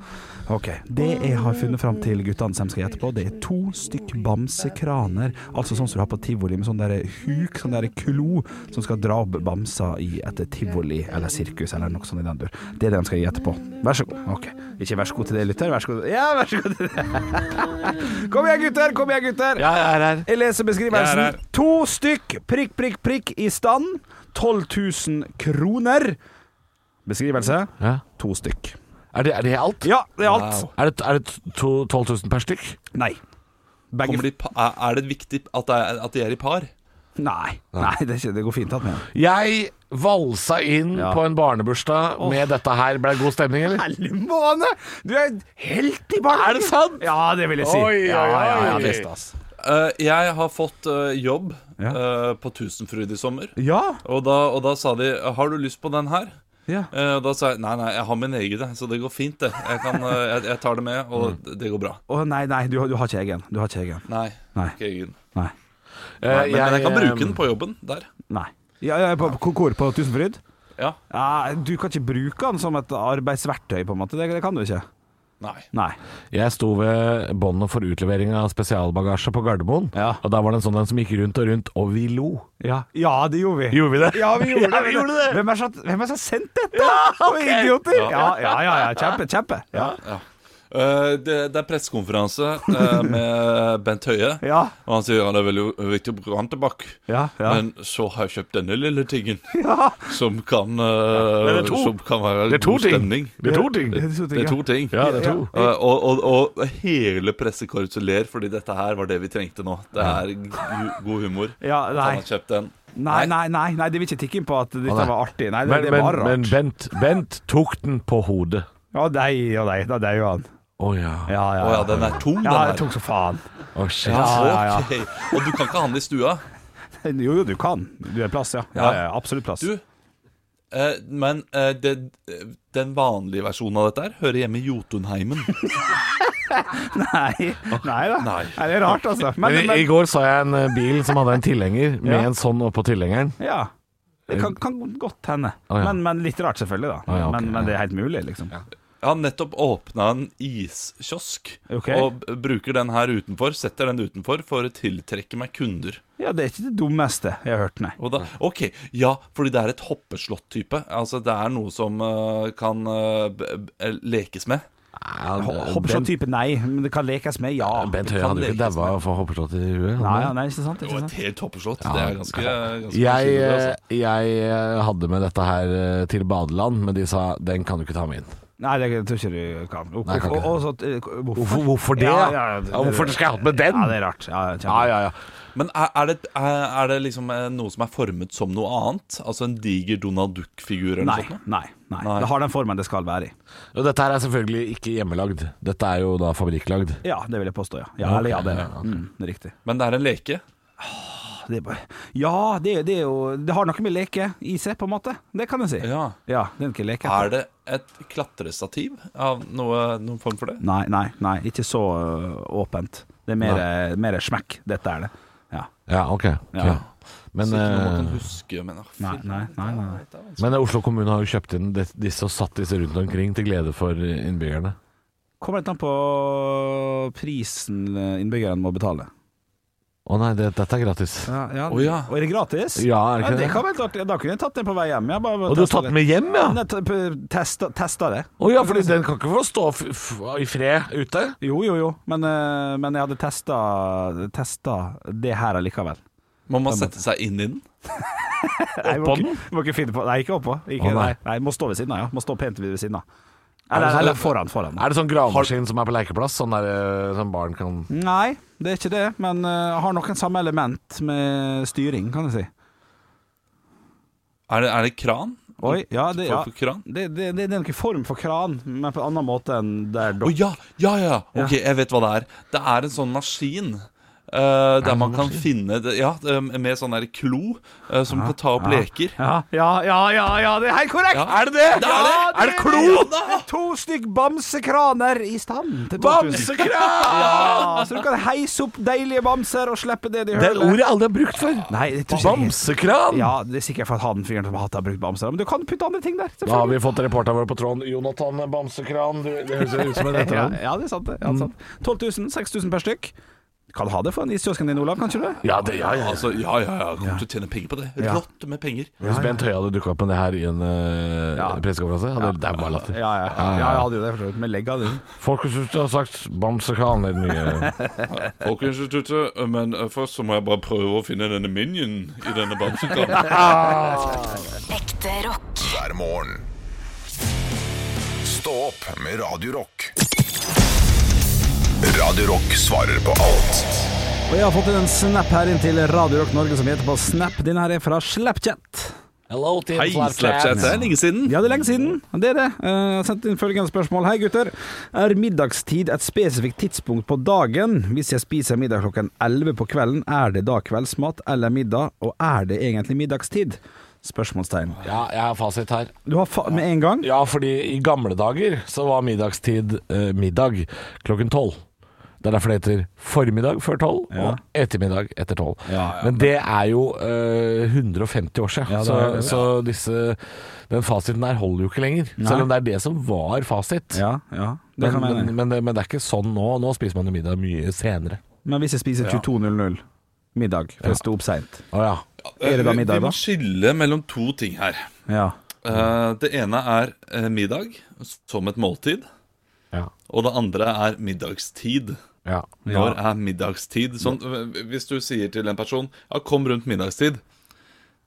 Speaker 6: Ok, Det jeg har funnet fram til guttene som skal gjette på, det er to stykk bamsekraner. Altså sånn som du har på tivoli, med sånn der huk, sånn der klo, som skal dra opp bamser i et tivoli eller sirkus eller noe sånt i den dur. Det er det de skal gjette på. Vær så god. Ok. Ikke vær så god til det, lytter. Vær så god. Ja, vær så god til det. Kom igjen, gutter! Kom igjen, gutter!
Speaker 5: Ja, jeg er her.
Speaker 6: Jeg leser
Speaker 5: Jeg er
Speaker 6: beskrivelsen.
Speaker 5: her.
Speaker 6: To stykk prikk, prikk, prikk i stand. 12 000 kroner. Beskrivelse. To stykk.
Speaker 5: Er det, er det alt?
Speaker 6: Ja, det er alt.
Speaker 5: Er det, er det to, 12 000 per stykk?
Speaker 6: Nei.
Speaker 4: Kommer de pa- er er det viktig at, det er, at de er i par?
Speaker 6: Nei. Nei, det, er ikke- det går fint at med.
Speaker 5: Jeg valsa inn på en barnebursdag
Speaker 6: Åh.
Speaker 5: med dette her. Ble det god stemning, eller?
Speaker 6: Måne! Du er helt i barn!
Speaker 5: Er det sant?
Speaker 6: Ja, det vil jeg si.
Speaker 5: Oi, oi,
Speaker 6: Ja, ja, ja,
Speaker 5: oi.
Speaker 6: visst, ass.
Speaker 4: Eh, jeg har fått eh, jobb eh, på Tusenfryd i sommer. Og, da, og da sa de 'Har du lyst på den her?'
Speaker 6: Ja.
Speaker 4: Eh, og da sa jeg 'Nei, nei, jeg har min egen, jeg, så det går fint, det. Jeg, kan, eh, jeg, jeg tar det med, og
Speaker 6: Mm.
Speaker 4: det- det går bra'.
Speaker 6: Å nei, nei, du, har- du har ikke egen. Du har ikke egen.
Speaker 4: Nei.
Speaker 6: Nei. Eh,
Speaker 4: Ikke egen.
Speaker 6: Nei.
Speaker 4: Nei,
Speaker 5: Eh,
Speaker 4: men, men jeg kan bruke den på jobben der.
Speaker 6: Nei. Ja, ja, på, på, hvor? På Tusenfryd?
Speaker 4: Ja.
Speaker 6: Ja, du kan ikke bruke den som et arbeidsverktøy, på en måte. Det, det kan du ikke.
Speaker 4: Nei.
Speaker 6: Nei.
Speaker 5: Jeg sto ved båndet for utlevering av spesialbagasje på Gardermoen. Og da var det en sånn en som gikk rundt og rundt, og vi lo.
Speaker 6: Ja, ja det gjorde vi.
Speaker 5: Gjorde vi det?
Speaker 6: Ja, vi gjorde
Speaker 5: Ja,
Speaker 6: det.
Speaker 5: vi gjorde det.
Speaker 6: Hvem er det som har sendt dette? Ja, Idioter! Ja, ja, ja. ja, Kjempe, kjempe. Ja.
Speaker 4: Ja. Eh, det, det er pressekonferanse eh, med Bent Høie.
Speaker 6: Ja.
Speaker 4: Og han sier ja, det er veldig viktig å bruke han tilbake.
Speaker 6: Ja, ja.
Speaker 4: Men så har jeg kjøpt denne lille tingen
Speaker 6: Ja.
Speaker 4: som, kan,
Speaker 5: Men
Speaker 4: eh,
Speaker 5: det er to.
Speaker 4: som kan være
Speaker 5: Det er to
Speaker 4: god
Speaker 5: ting.
Speaker 4: stemning.
Speaker 5: Det er to ting.
Speaker 4: Det, det er to ting.
Speaker 5: Ja, det er to.
Speaker 4: Eh, og, og, og hele pressekorpset ler, fordi dette her var det vi trengte nå. Det er gu- god humor.
Speaker 6: Ja,
Speaker 4: At
Speaker 6: nei.
Speaker 4: Han har kjøpt den.
Speaker 6: Nei, nei, nei, nei, det vil ikke tikke inn på at dette
Speaker 5: nei.
Speaker 6: var artig. Nei, det,
Speaker 5: Men,
Speaker 6: det
Speaker 5: men,
Speaker 6: var rart.
Speaker 5: men Bent, Bent tok den på hodet.
Speaker 6: Ja, nei, ja, nei, da dør jo han.
Speaker 5: Å ja.
Speaker 6: Ja, ja,
Speaker 4: Å ja, den er tung, den
Speaker 6: Ja,
Speaker 4: her.
Speaker 6: den er tung som faen.
Speaker 5: Å, shit.
Speaker 6: Ja, ja, ja.
Speaker 4: Ok. Og du kan ikke handle i stua.
Speaker 6: Jo, jo, du kan. Du er plass, ja. Ja, ja, absolutt plass.
Speaker 4: Du, eh, men eh, det, eh, den vanlige versjonen av dette her hører hjemme i Jotunheimen.
Speaker 6: Nei, nei da. Nei. Det er rart, altså.
Speaker 5: Men,
Speaker 6: Men,
Speaker 5: i- I
Speaker 6: men
Speaker 5: går så jeg en eh, bil som hadde en tilhenger med
Speaker 6: Ja.
Speaker 5: en sånn oppå tilhengeren.
Speaker 6: ja. Det kan, kan godt hende.
Speaker 5: Å, ja.
Speaker 6: Men, men litt rart, selvfølgelig, da.
Speaker 5: Å, ja, ok,
Speaker 6: men,
Speaker 5: ja.
Speaker 6: men det er helt mulig, liksom.
Speaker 4: Jeg har nettopp åpna en iskiosk
Speaker 6: Ok.
Speaker 4: og b- bruker den her utenfor. Setter den utenfor for å tiltrekke meg kunder.
Speaker 6: Ja, det er ikke det dummeste jeg har hørt, nei.
Speaker 4: Og da, ok, Ja, fordi det er et hoppeslott-type. Altså Det er noe som eh, kan eh, b- b- lekes med.
Speaker 6: Hopper sånn type nei, men det kan lekes med, ja.
Speaker 5: Bent
Speaker 6: Det
Speaker 5: Høie
Speaker 6: kan
Speaker 5: hadde jo ikke
Speaker 6: lekes
Speaker 5: daua
Speaker 6: med.
Speaker 5: for hoppeslott i huet.
Speaker 6: Nei, ja, nei, ikke sant? Ikke sant?
Speaker 4: Et helt hoppeslott.
Speaker 5: Ja.
Speaker 4: Det er ganske, ganske
Speaker 5: Jeg,
Speaker 4: beskyttende, altså.
Speaker 5: eh, jeg eh, hadde med dette her eh, til badeland, men de sa den kan du ikke ta med inn.
Speaker 6: Nei, det tror ikke du kan. Og,
Speaker 5: Nei, jeg kan ikke.
Speaker 6: og, og, så, eh, hvorfor?
Speaker 5: Hvorfor, hvorfor det?
Speaker 6: Ja,
Speaker 5: Ja,
Speaker 6: ja, ja, det-
Speaker 5: hvorfor skal jeg ha hatt med den?
Speaker 6: Ja, det er rart. Ja, kjempe.
Speaker 5: Ja, ja, ja.
Speaker 4: Men er, er, det, er, er det liksom eh, noe som er formet som noe annet? Altså en diger Donald Duck-figur? eller noe
Speaker 6: Nei,
Speaker 4: sånt noe?
Speaker 6: nei, nei.
Speaker 4: Sånn, Nei.
Speaker 6: Det har den formen det skal være i.
Speaker 5: Og dette her er selvfølgelig ikke hjemmelagd. Dette er jo da fabrikklagd.
Speaker 6: Ja, det vil jeg påstå, ja. Ja, eller ja, det er det. Mm, det er riktig. Ah,
Speaker 4: Men det er en leke?
Speaker 6: Det er bare, ja, det, er- det er jo Det har noe med leke i seg, på en måte. Det kan jeg si.
Speaker 4: Ja.
Speaker 6: Ja, det er ikke leke.
Speaker 4: Er det et klatrestativ av noe, noen form for det?
Speaker 6: Nei, nei, nei. Ikke så ø, åpent. Det er mer, eh, mer smekk. Dette er det. Ja.
Speaker 5: Ja, ok. ok.
Speaker 6: Ja.
Speaker 5: Men,
Speaker 4: Så ikke noe man
Speaker 5: eh,
Speaker 4: kan huske, men ah,
Speaker 6: Nei, nei, nei. nei, nei.
Speaker 5: men Oslo kommune har jo kjøpt inn de- disse og satt disse rundt omkring til glede for innbyggerne.
Speaker 6: Kommer litt an på prisen innbyggerne må betale.
Speaker 5: Å nei, det, dette er gratis.
Speaker 6: Ja, ja.
Speaker 4: Å, ja.
Speaker 6: Og er det gratis?
Speaker 5: Ja, er det ikke
Speaker 6: det
Speaker 5: det?
Speaker 6: kan være litt artig. Da kunne jeg tatt den på vei hjem. Jeg bare
Speaker 5: Og du har tatt den med hjem, ja? Å
Speaker 6: Testa, testa det.
Speaker 5: ja, fordi den kan ikke få stå f f i fred ute.
Speaker 6: Jo, jo, jo. Men, ø, men jeg hadde testa, testa det her allikevel.
Speaker 4: Må man sette seg inn i den?
Speaker 6: Nei, må
Speaker 5: Oppå
Speaker 6: ikke-
Speaker 5: den?
Speaker 6: Må ikke finne på Nei, ikke oppå. Ikke,
Speaker 5: Å, nei.
Speaker 6: nei. nei, må stå ved siden av, ja. Må stå pent ved siden av. Eller,
Speaker 5: sånn-
Speaker 6: eller foran, foran.
Speaker 5: Er det sånn gravemaskin som er på lekeplass, sånn der eh, som barn kan
Speaker 6: Nei, det er ikke det, men eh, har noen samme element med styring, kan jeg si.
Speaker 4: Er det, er det kran?
Speaker 6: Oi, ja, det, ja.
Speaker 4: Form for kran?
Speaker 6: Det, det, det, det er noen form for kran, men på en annen måte enn der
Speaker 4: Å
Speaker 6: dere
Speaker 4: ja, ja, ja!
Speaker 6: Ja.
Speaker 4: Ok, jeg vet hva det er. Det er en sånn maskin eh, der man kan finne det, Ja, eh, med sånn der klo eh, som kan ta opp
Speaker 6: ja.
Speaker 4: leker.
Speaker 6: Ja, ja, ja, ja, ja, det er helt korrekt!
Speaker 4: Ja.
Speaker 6: Er det det?
Speaker 4: Det er det.
Speaker 6: Ja,
Speaker 4: Er det klo?
Speaker 6: det. To stykk bamsekraner i stand til 2000.
Speaker 14: Bamsekran!
Speaker 6: Ja, så du kan heise opp deilige bamser og slippe det de
Speaker 14: Det er et ord jeg
Speaker 6: aldri har brukt før. Nei, det tror jeg ikke.
Speaker 5: Bamsekran!
Speaker 6: Ja, det er sikkert for at han fyren som hater har brukt bamser, men du kan putte andre ting der.
Speaker 5: Da har vi fått reporteren vår på tråden. Jonathan Bamsekran. Du, det høres ut som en
Speaker 6: ja,
Speaker 5: etternavn.
Speaker 6: ja, det er sant. det. Ja, det er sant. 12 000, 6000 per stykk. Kan ha det for en iskiosken din, Olav, kan ikke du?
Speaker 5: Ja, det, ja, ja,
Speaker 4: Altså, ja, ja, ja. Kommer til å tjene penger på det.
Speaker 6: Ja.
Speaker 4: Rått med penger.
Speaker 5: Hvis Bent Høie hadde dukka opp med det her i en uh, pressekonferanse, hadde det vært bare latter.
Speaker 6: Ja, ja. ja, jeg hadde jo det, for så vidt. Men legg av, du.
Speaker 5: Folk syns du har sagt bamsekran litt mye.
Speaker 4: Folkeinstituttet, men eh, først så må jeg bare prøve å finne denne minion i denne bamsekranen.
Speaker 2: Ekte rock.
Speaker 1: hver morgen. Stå opp med Radio Rock. Radio Rock svarer på alt.
Speaker 6: Og jeg har fått inn en snap her inn til Radio Rock Norge som heter på Snap. Denne her er fra Slapchat.
Speaker 5: Hello, Team
Speaker 4: Hei, Slapchat. Det er lenge siden.
Speaker 6: Ja, det er lenge siden. Det er det. Eh, Jeg har sendt inn følgende spørsmål. Hei, gutter. Er middagstid et spesifikt tidspunkt på dagen? Hvis jeg spiser middag klokken 11 på kvelden, er det da kveldsmat eller middag? Og er det egentlig middagstid? Spørsmålstegn.
Speaker 5: Ja, jeg har fasit her.
Speaker 6: Du har fa med en gang?
Speaker 5: Ja, fordi i gamle dager så var middagstid eh, middag klokken tolv. Det er derfor det heter formiddag før tolv og ettermiddag etter tolv. men det er jo eh, 150 år siden,
Speaker 6: Ja, det
Speaker 5: så,
Speaker 6: er det.
Speaker 5: så disse, den fasiten der holder jo ikke lenger.
Speaker 6: Nei.
Speaker 5: Selv om det er det som var fasit.
Speaker 6: Ja, ja. Det
Speaker 5: Men,
Speaker 6: kan jeg
Speaker 5: men,
Speaker 6: mene.
Speaker 5: men, det, men det er ikke sånn nå. Nå spiser man jo middag mye senere.
Speaker 6: Men hvis jeg spiser 22.00 middag, for jeg sto opp seint,
Speaker 5: Å ja.
Speaker 6: er det da
Speaker 4: Vi-
Speaker 6: middag,
Speaker 4: Eh, Vi må
Speaker 6: da?
Speaker 4: skille mellom to ting her.
Speaker 6: Ja.
Speaker 4: Eh, det ene er eh, middag som et måltid,
Speaker 5: Ja.
Speaker 4: og det andre er middagstid.
Speaker 5: ja.
Speaker 4: Når er middagstid? Sånn, eh, hvis du sier til en person ja, 'kom rundt middagstid',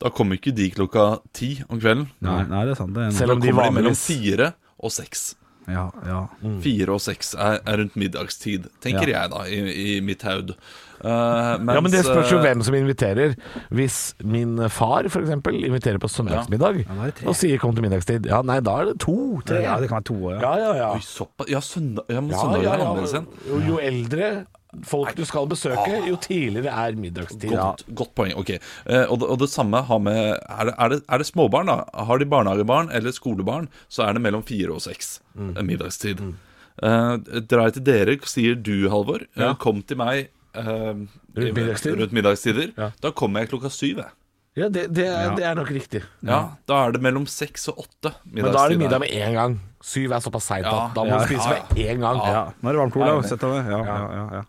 Speaker 4: da kommer ikke de klokka ti om kvelden.
Speaker 6: Nei, nei, det er sant. Det er en...
Speaker 5: Selv om de
Speaker 4: Kommer de mellom
Speaker 5: vanligvis
Speaker 4: fire og seks.
Speaker 6: Ja, ja.
Speaker 5: Mm.
Speaker 4: Fire og seks er, er rundt middagstid, tenker jeg da, i, i mitt haud. Eh,
Speaker 5: Ja, men Det
Speaker 4: mens,
Speaker 5: spørs jo
Speaker 4: eh,
Speaker 5: hvem som inviterer. Hvis min far for eksempel, inviterer på søndagsmiddag
Speaker 6: da er det tre.
Speaker 5: og sier 'kom til middagstid', ja nei, da er det to. Tre.
Speaker 6: ja, det kan være to år, ja.
Speaker 5: ja, ja. ja.
Speaker 4: Oi, såpass. Ja, søndag, ja, men
Speaker 5: Ja,
Speaker 4: søndag
Speaker 5: ja,
Speaker 4: er
Speaker 5: ja.
Speaker 4: annerledes igjen.
Speaker 5: Jo, jo eldre folk du skal besøke, jo tidligere er middagstid. Ja.
Speaker 4: Godt, godt poeng. ok Eh, og, det, og det samme har med er det, er, det, er det småbarn, da? Har de barnehagebarn eller skolebarn, så er det mellom fire og seks
Speaker 5: Mm.
Speaker 4: eh, middagstid. Eh, drar jeg til dere, sier du, Halvor, eh, kom til meg eh, i-
Speaker 5: middagstid.
Speaker 4: rundt middagstider. Da kommer jeg klokka syv. jeg.
Speaker 5: Ja, det, det, er- det er nok riktig.
Speaker 4: Ja, Da er det mellom seks og åtte.
Speaker 5: Mm. Men da er det
Speaker 4: middagstid her.
Speaker 5: middag med en gang. Syv er såpass seint
Speaker 4: Ja,
Speaker 5: at da må
Speaker 4: ja,
Speaker 5: du spise
Speaker 4: ja,
Speaker 5: med en gang.
Speaker 6: ja. Nå er det varmt, Olav. Sett deg ned. Ja, ja, ja, ja.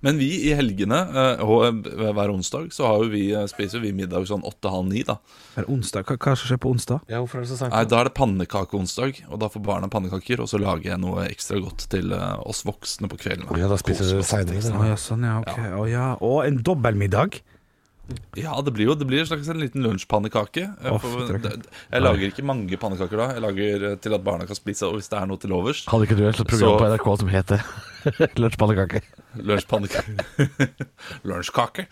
Speaker 4: Men vi i helgene, eh, og eh, hver onsdag, så har jo vi, eh, spiser vi middag sånn åtte-halv ni, da.
Speaker 6: Er det onsdag? Hva, hva skal skje på onsdag?
Speaker 5: Ja, hvorfor er det så
Speaker 4: Nei,
Speaker 5: seint?
Speaker 4: da er det pannekakeonsdag, og da får barna pannekaker, og så lager jeg noe ekstra godt til eh, oss voksne på kvelden.
Speaker 5: Ja, da spiser
Speaker 4: Kose
Speaker 5: dere
Speaker 4: oss. liksom.
Speaker 6: Å
Speaker 5: seinere.
Speaker 6: ja, sånn ja, ok. Å ja. Å, en dobbeltmiddag?
Speaker 4: Ja, det blir jo det blir en slags en liten lunsjpannekake. Eh,
Speaker 6: Å,
Speaker 4: for-
Speaker 6: fytti
Speaker 4: d-
Speaker 6: rakkeren.
Speaker 4: Jeg lager ikke mange pannekaker da, jeg lager eh, til at barna kan spise, og hvis det er noe til overs,
Speaker 5: Hadde ikke du et
Speaker 4: program på
Speaker 5: program på NRK som het det? Lunsjpannekake.
Speaker 4: lunsjpannekaker. Lunsjkake.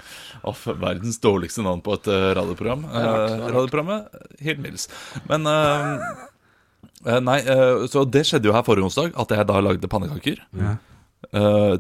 Speaker 4: Av verdens dårligste navn på et eh, radioprogram. Eh, radioprogrammet eh, helt middels. Men eh, eh, Nei, eh, så det skjedde jo her forrige onsdag, at jeg da lagde pannekaker eh,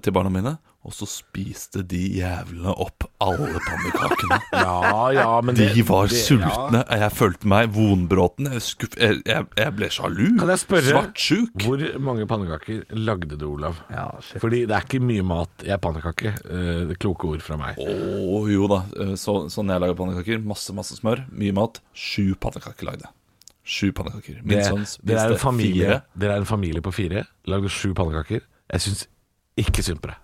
Speaker 4: til barna mine. Og så spiste de jævlene opp alle pannekakene.
Speaker 5: Ja, ja, men det,
Speaker 4: De var
Speaker 5: det-
Speaker 4: sultne. Jeg følte meg vonbråten. Jeg, skuff, jeg, jeg, jeg ble sjalu.
Speaker 5: Kan jeg spørre-
Speaker 4: Svartsjuk.
Speaker 5: Hvor mange pannekaker lagde du, Olav?
Speaker 6: Ja, altså. shit.
Speaker 5: Fordi det er ikke mye mat i ei pannekake. Eh, det er kloke ord fra meg.
Speaker 4: Å jo da. eh, Så, sånn jeg lager pannekaker. Masse masse smør, mye mat. Sju pannekaker lagde jeg. Sju pannekaker. Min sønn
Speaker 5: dere, er
Speaker 4: spiste
Speaker 5: en familie,
Speaker 4: fire.
Speaker 5: dere er en familie på fire. Lagde sju pannekaker. Jeg syns ikke synd på deg.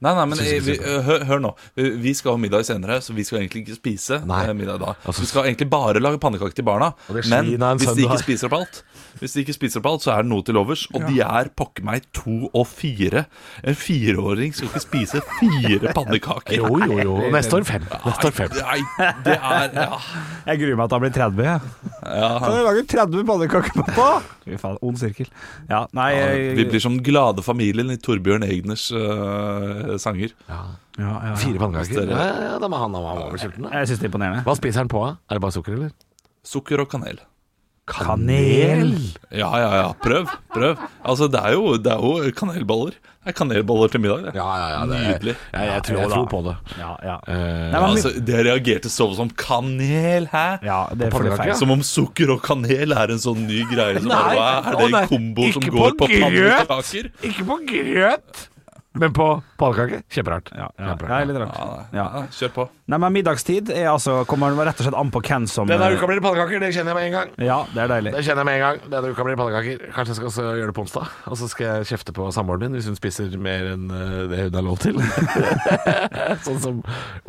Speaker 4: Nei, nei, men
Speaker 5: Synes ikke
Speaker 4: vi,
Speaker 5: så bra.
Speaker 4: hør, hør nå. Eh, Vi skal ha middag senere, så vi skal egentlig ikke spise
Speaker 5: Nei.
Speaker 4: eh, middag da.
Speaker 5: Altså,
Speaker 4: vi skal egentlig bare lage pannekaker til barna.
Speaker 5: Og det er
Speaker 4: Men
Speaker 5: svin av en
Speaker 4: hvis
Speaker 5: sønn
Speaker 4: de
Speaker 5: du har.
Speaker 4: ikke spiser opp alt, Hvis de ikke spiser opp alt, så er det noe til overs. Og de er pokker meg to og fire. En fireåring skal ikke spise fire pannekaker.
Speaker 5: Jo, jo, jo. Neste år fem. Neste år fem.
Speaker 4: Nei, det er ja.
Speaker 6: Jeg gruer meg til han blir 30. jeg. Kan du lage 30 pannekaker, pappa? Fy faen, ond sirkel. Ja, nei jeg-
Speaker 4: Vi blir som den glade familien i Torbjørn Egners eh, sanger.
Speaker 6: ja, ja, ja.
Speaker 5: Fire pannekaker. Ja, ja, da må han han var vel sulten, da.
Speaker 6: Jeg syns det er imponerende.
Speaker 5: Hva spiser han på? da? Er det bare sukker, eller?
Speaker 4: Sukker og kanel.
Speaker 6: Kanel?
Speaker 4: Ja, ja, ja. Prøv. prøv Altså, Det er jo, det er jo kanelboller. Det er kanelboller til middag. Det.
Speaker 5: Ja, ja, ja, det er-
Speaker 4: Nydelig.
Speaker 5: Ja, jeg tror- jeg tror på det.
Speaker 6: Ja, ja.
Speaker 5: Eh,
Speaker 4: Ja, altså, det reagerte så som kanel, hæ?
Speaker 6: Ja, det er
Speaker 4: På
Speaker 6: fordi-
Speaker 4: pannekaker? Som om sukker og kanel er en sånn ny greie. Som bare, hva er det
Speaker 5: Å, nei.
Speaker 4: en kombo som
Speaker 5: Ikke
Speaker 4: går på
Speaker 5: grøt!
Speaker 4: pannekaker?
Speaker 5: Ikke på grøt, men på pannekake. Kjemperart. Kjemperart.
Speaker 6: Ja, litt rart. Ja.
Speaker 4: Kjør på.
Speaker 6: Nei, men Middagstid er altså, kommer rett og slett an på hvem som
Speaker 5: Denne uka blir det pannekaker, det kjenner jeg med en gang.
Speaker 6: Ja, det er deilig.
Speaker 5: Det kjenner jeg med en gang. Denne uka blir det pannekaker. Kanskje jeg skal også gjøre det på onsdag. Og så skal jeg kjefte på samboeren min hvis hun spiser mer enn eh, det hun har lov til. sånn som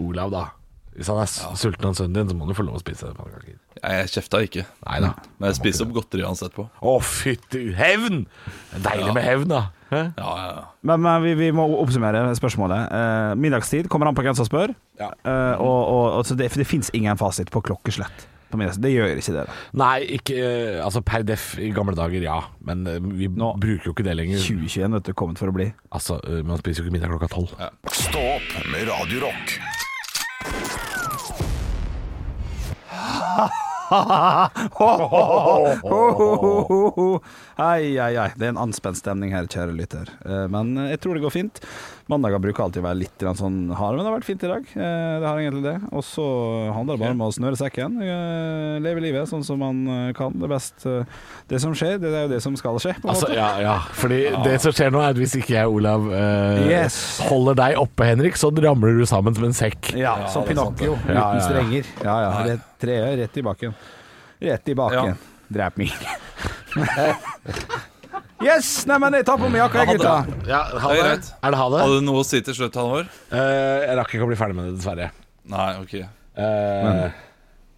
Speaker 5: Olav, da. Hvis han er s- sulten av sønnen din, så må han jo få lov å spise pannekaker.
Speaker 4: Nei, Jeg kjefta ikke.
Speaker 5: da.
Speaker 4: Men jeg spiser opp godteri uansett på.
Speaker 5: Å, fytti hevn! Det er Deilig med hevn, da. Hæ?
Speaker 4: Ja, ja, ja.
Speaker 6: Men, men vi, vi må oppsummere spørsmålet. Eh, middagstid kommer an på hvem som spør. Eh, og, og, og, så det, for det fins ingen fasit på klokkeslett. På middagstid. det gjør ikke det. da
Speaker 5: Nei, ikke eh, Altså, per def i gamle dager, ja. Men eh, vi bruker jo ikke det lenger.
Speaker 6: 2021 vet du, kommet for å bli.
Speaker 5: Altså, eh, man spiser jo ikke middag klokka tolv.
Speaker 1: Stå opp med Radio Rock.
Speaker 6: Ai, ai, ai. Det er en anspent stemning her, kjære lytter. Eh, Men jeg tror det går fint. Mandager bruker alltid å være litt grann sånn hard, men det har vært fint i dag. Eh, Det har egentlig det. Og så handler det bare om å snøre sekken. eh, Leve livet sånn som man eh, kan. Det er best eh, Det som skjer, det er jo det som skal skje. på en
Speaker 5: Altså,
Speaker 6: måte.
Speaker 5: ja, ja, fordi det som skjer nå er at hvis ikke jeg, Olav, eh,
Speaker 6: Yes.
Speaker 5: holder deg oppe, Henrik, så ramler du sammen som en sekk.
Speaker 6: Ja, som Pinocchio uten
Speaker 5: Ja, ja, ja.
Speaker 6: strenger. Ja, ja. Rett, treet rett i baken. Rett i baken. Drep meg. yes! Nei, men jeg tar på meg jakka, jeg,
Speaker 4: Ha
Speaker 6: gutta.
Speaker 5: Ja, ha
Speaker 4: Det
Speaker 5: det.
Speaker 4: er greit.
Speaker 5: Er det ha det?
Speaker 4: Hadde du noe å si til slutt, Halvor?
Speaker 5: Eh, jeg rakk ikke å bli ferdig med det, dessverre.
Speaker 4: Nei, ok.
Speaker 5: Eh,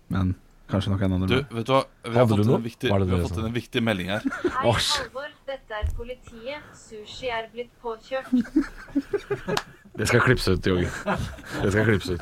Speaker 6: Men kanskje noen andre.
Speaker 4: Du, vet du hva? Vi har
Speaker 5: Hadde du
Speaker 4: fått
Speaker 5: noe?
Speaker 4: en viktig,
Speaker 5: Var det
Speaker 4: vi har
Speaker 5: det
Speaker 4: fått
Speaker 5: som-
Speaker 4: en viktig melding her.
Speaker 7: Hei, Halvor, dette er politiet. Sushi er blitt påkjørt.
Speaker 5: det skal klippes ut, Jorgen. Det skal klippes ut.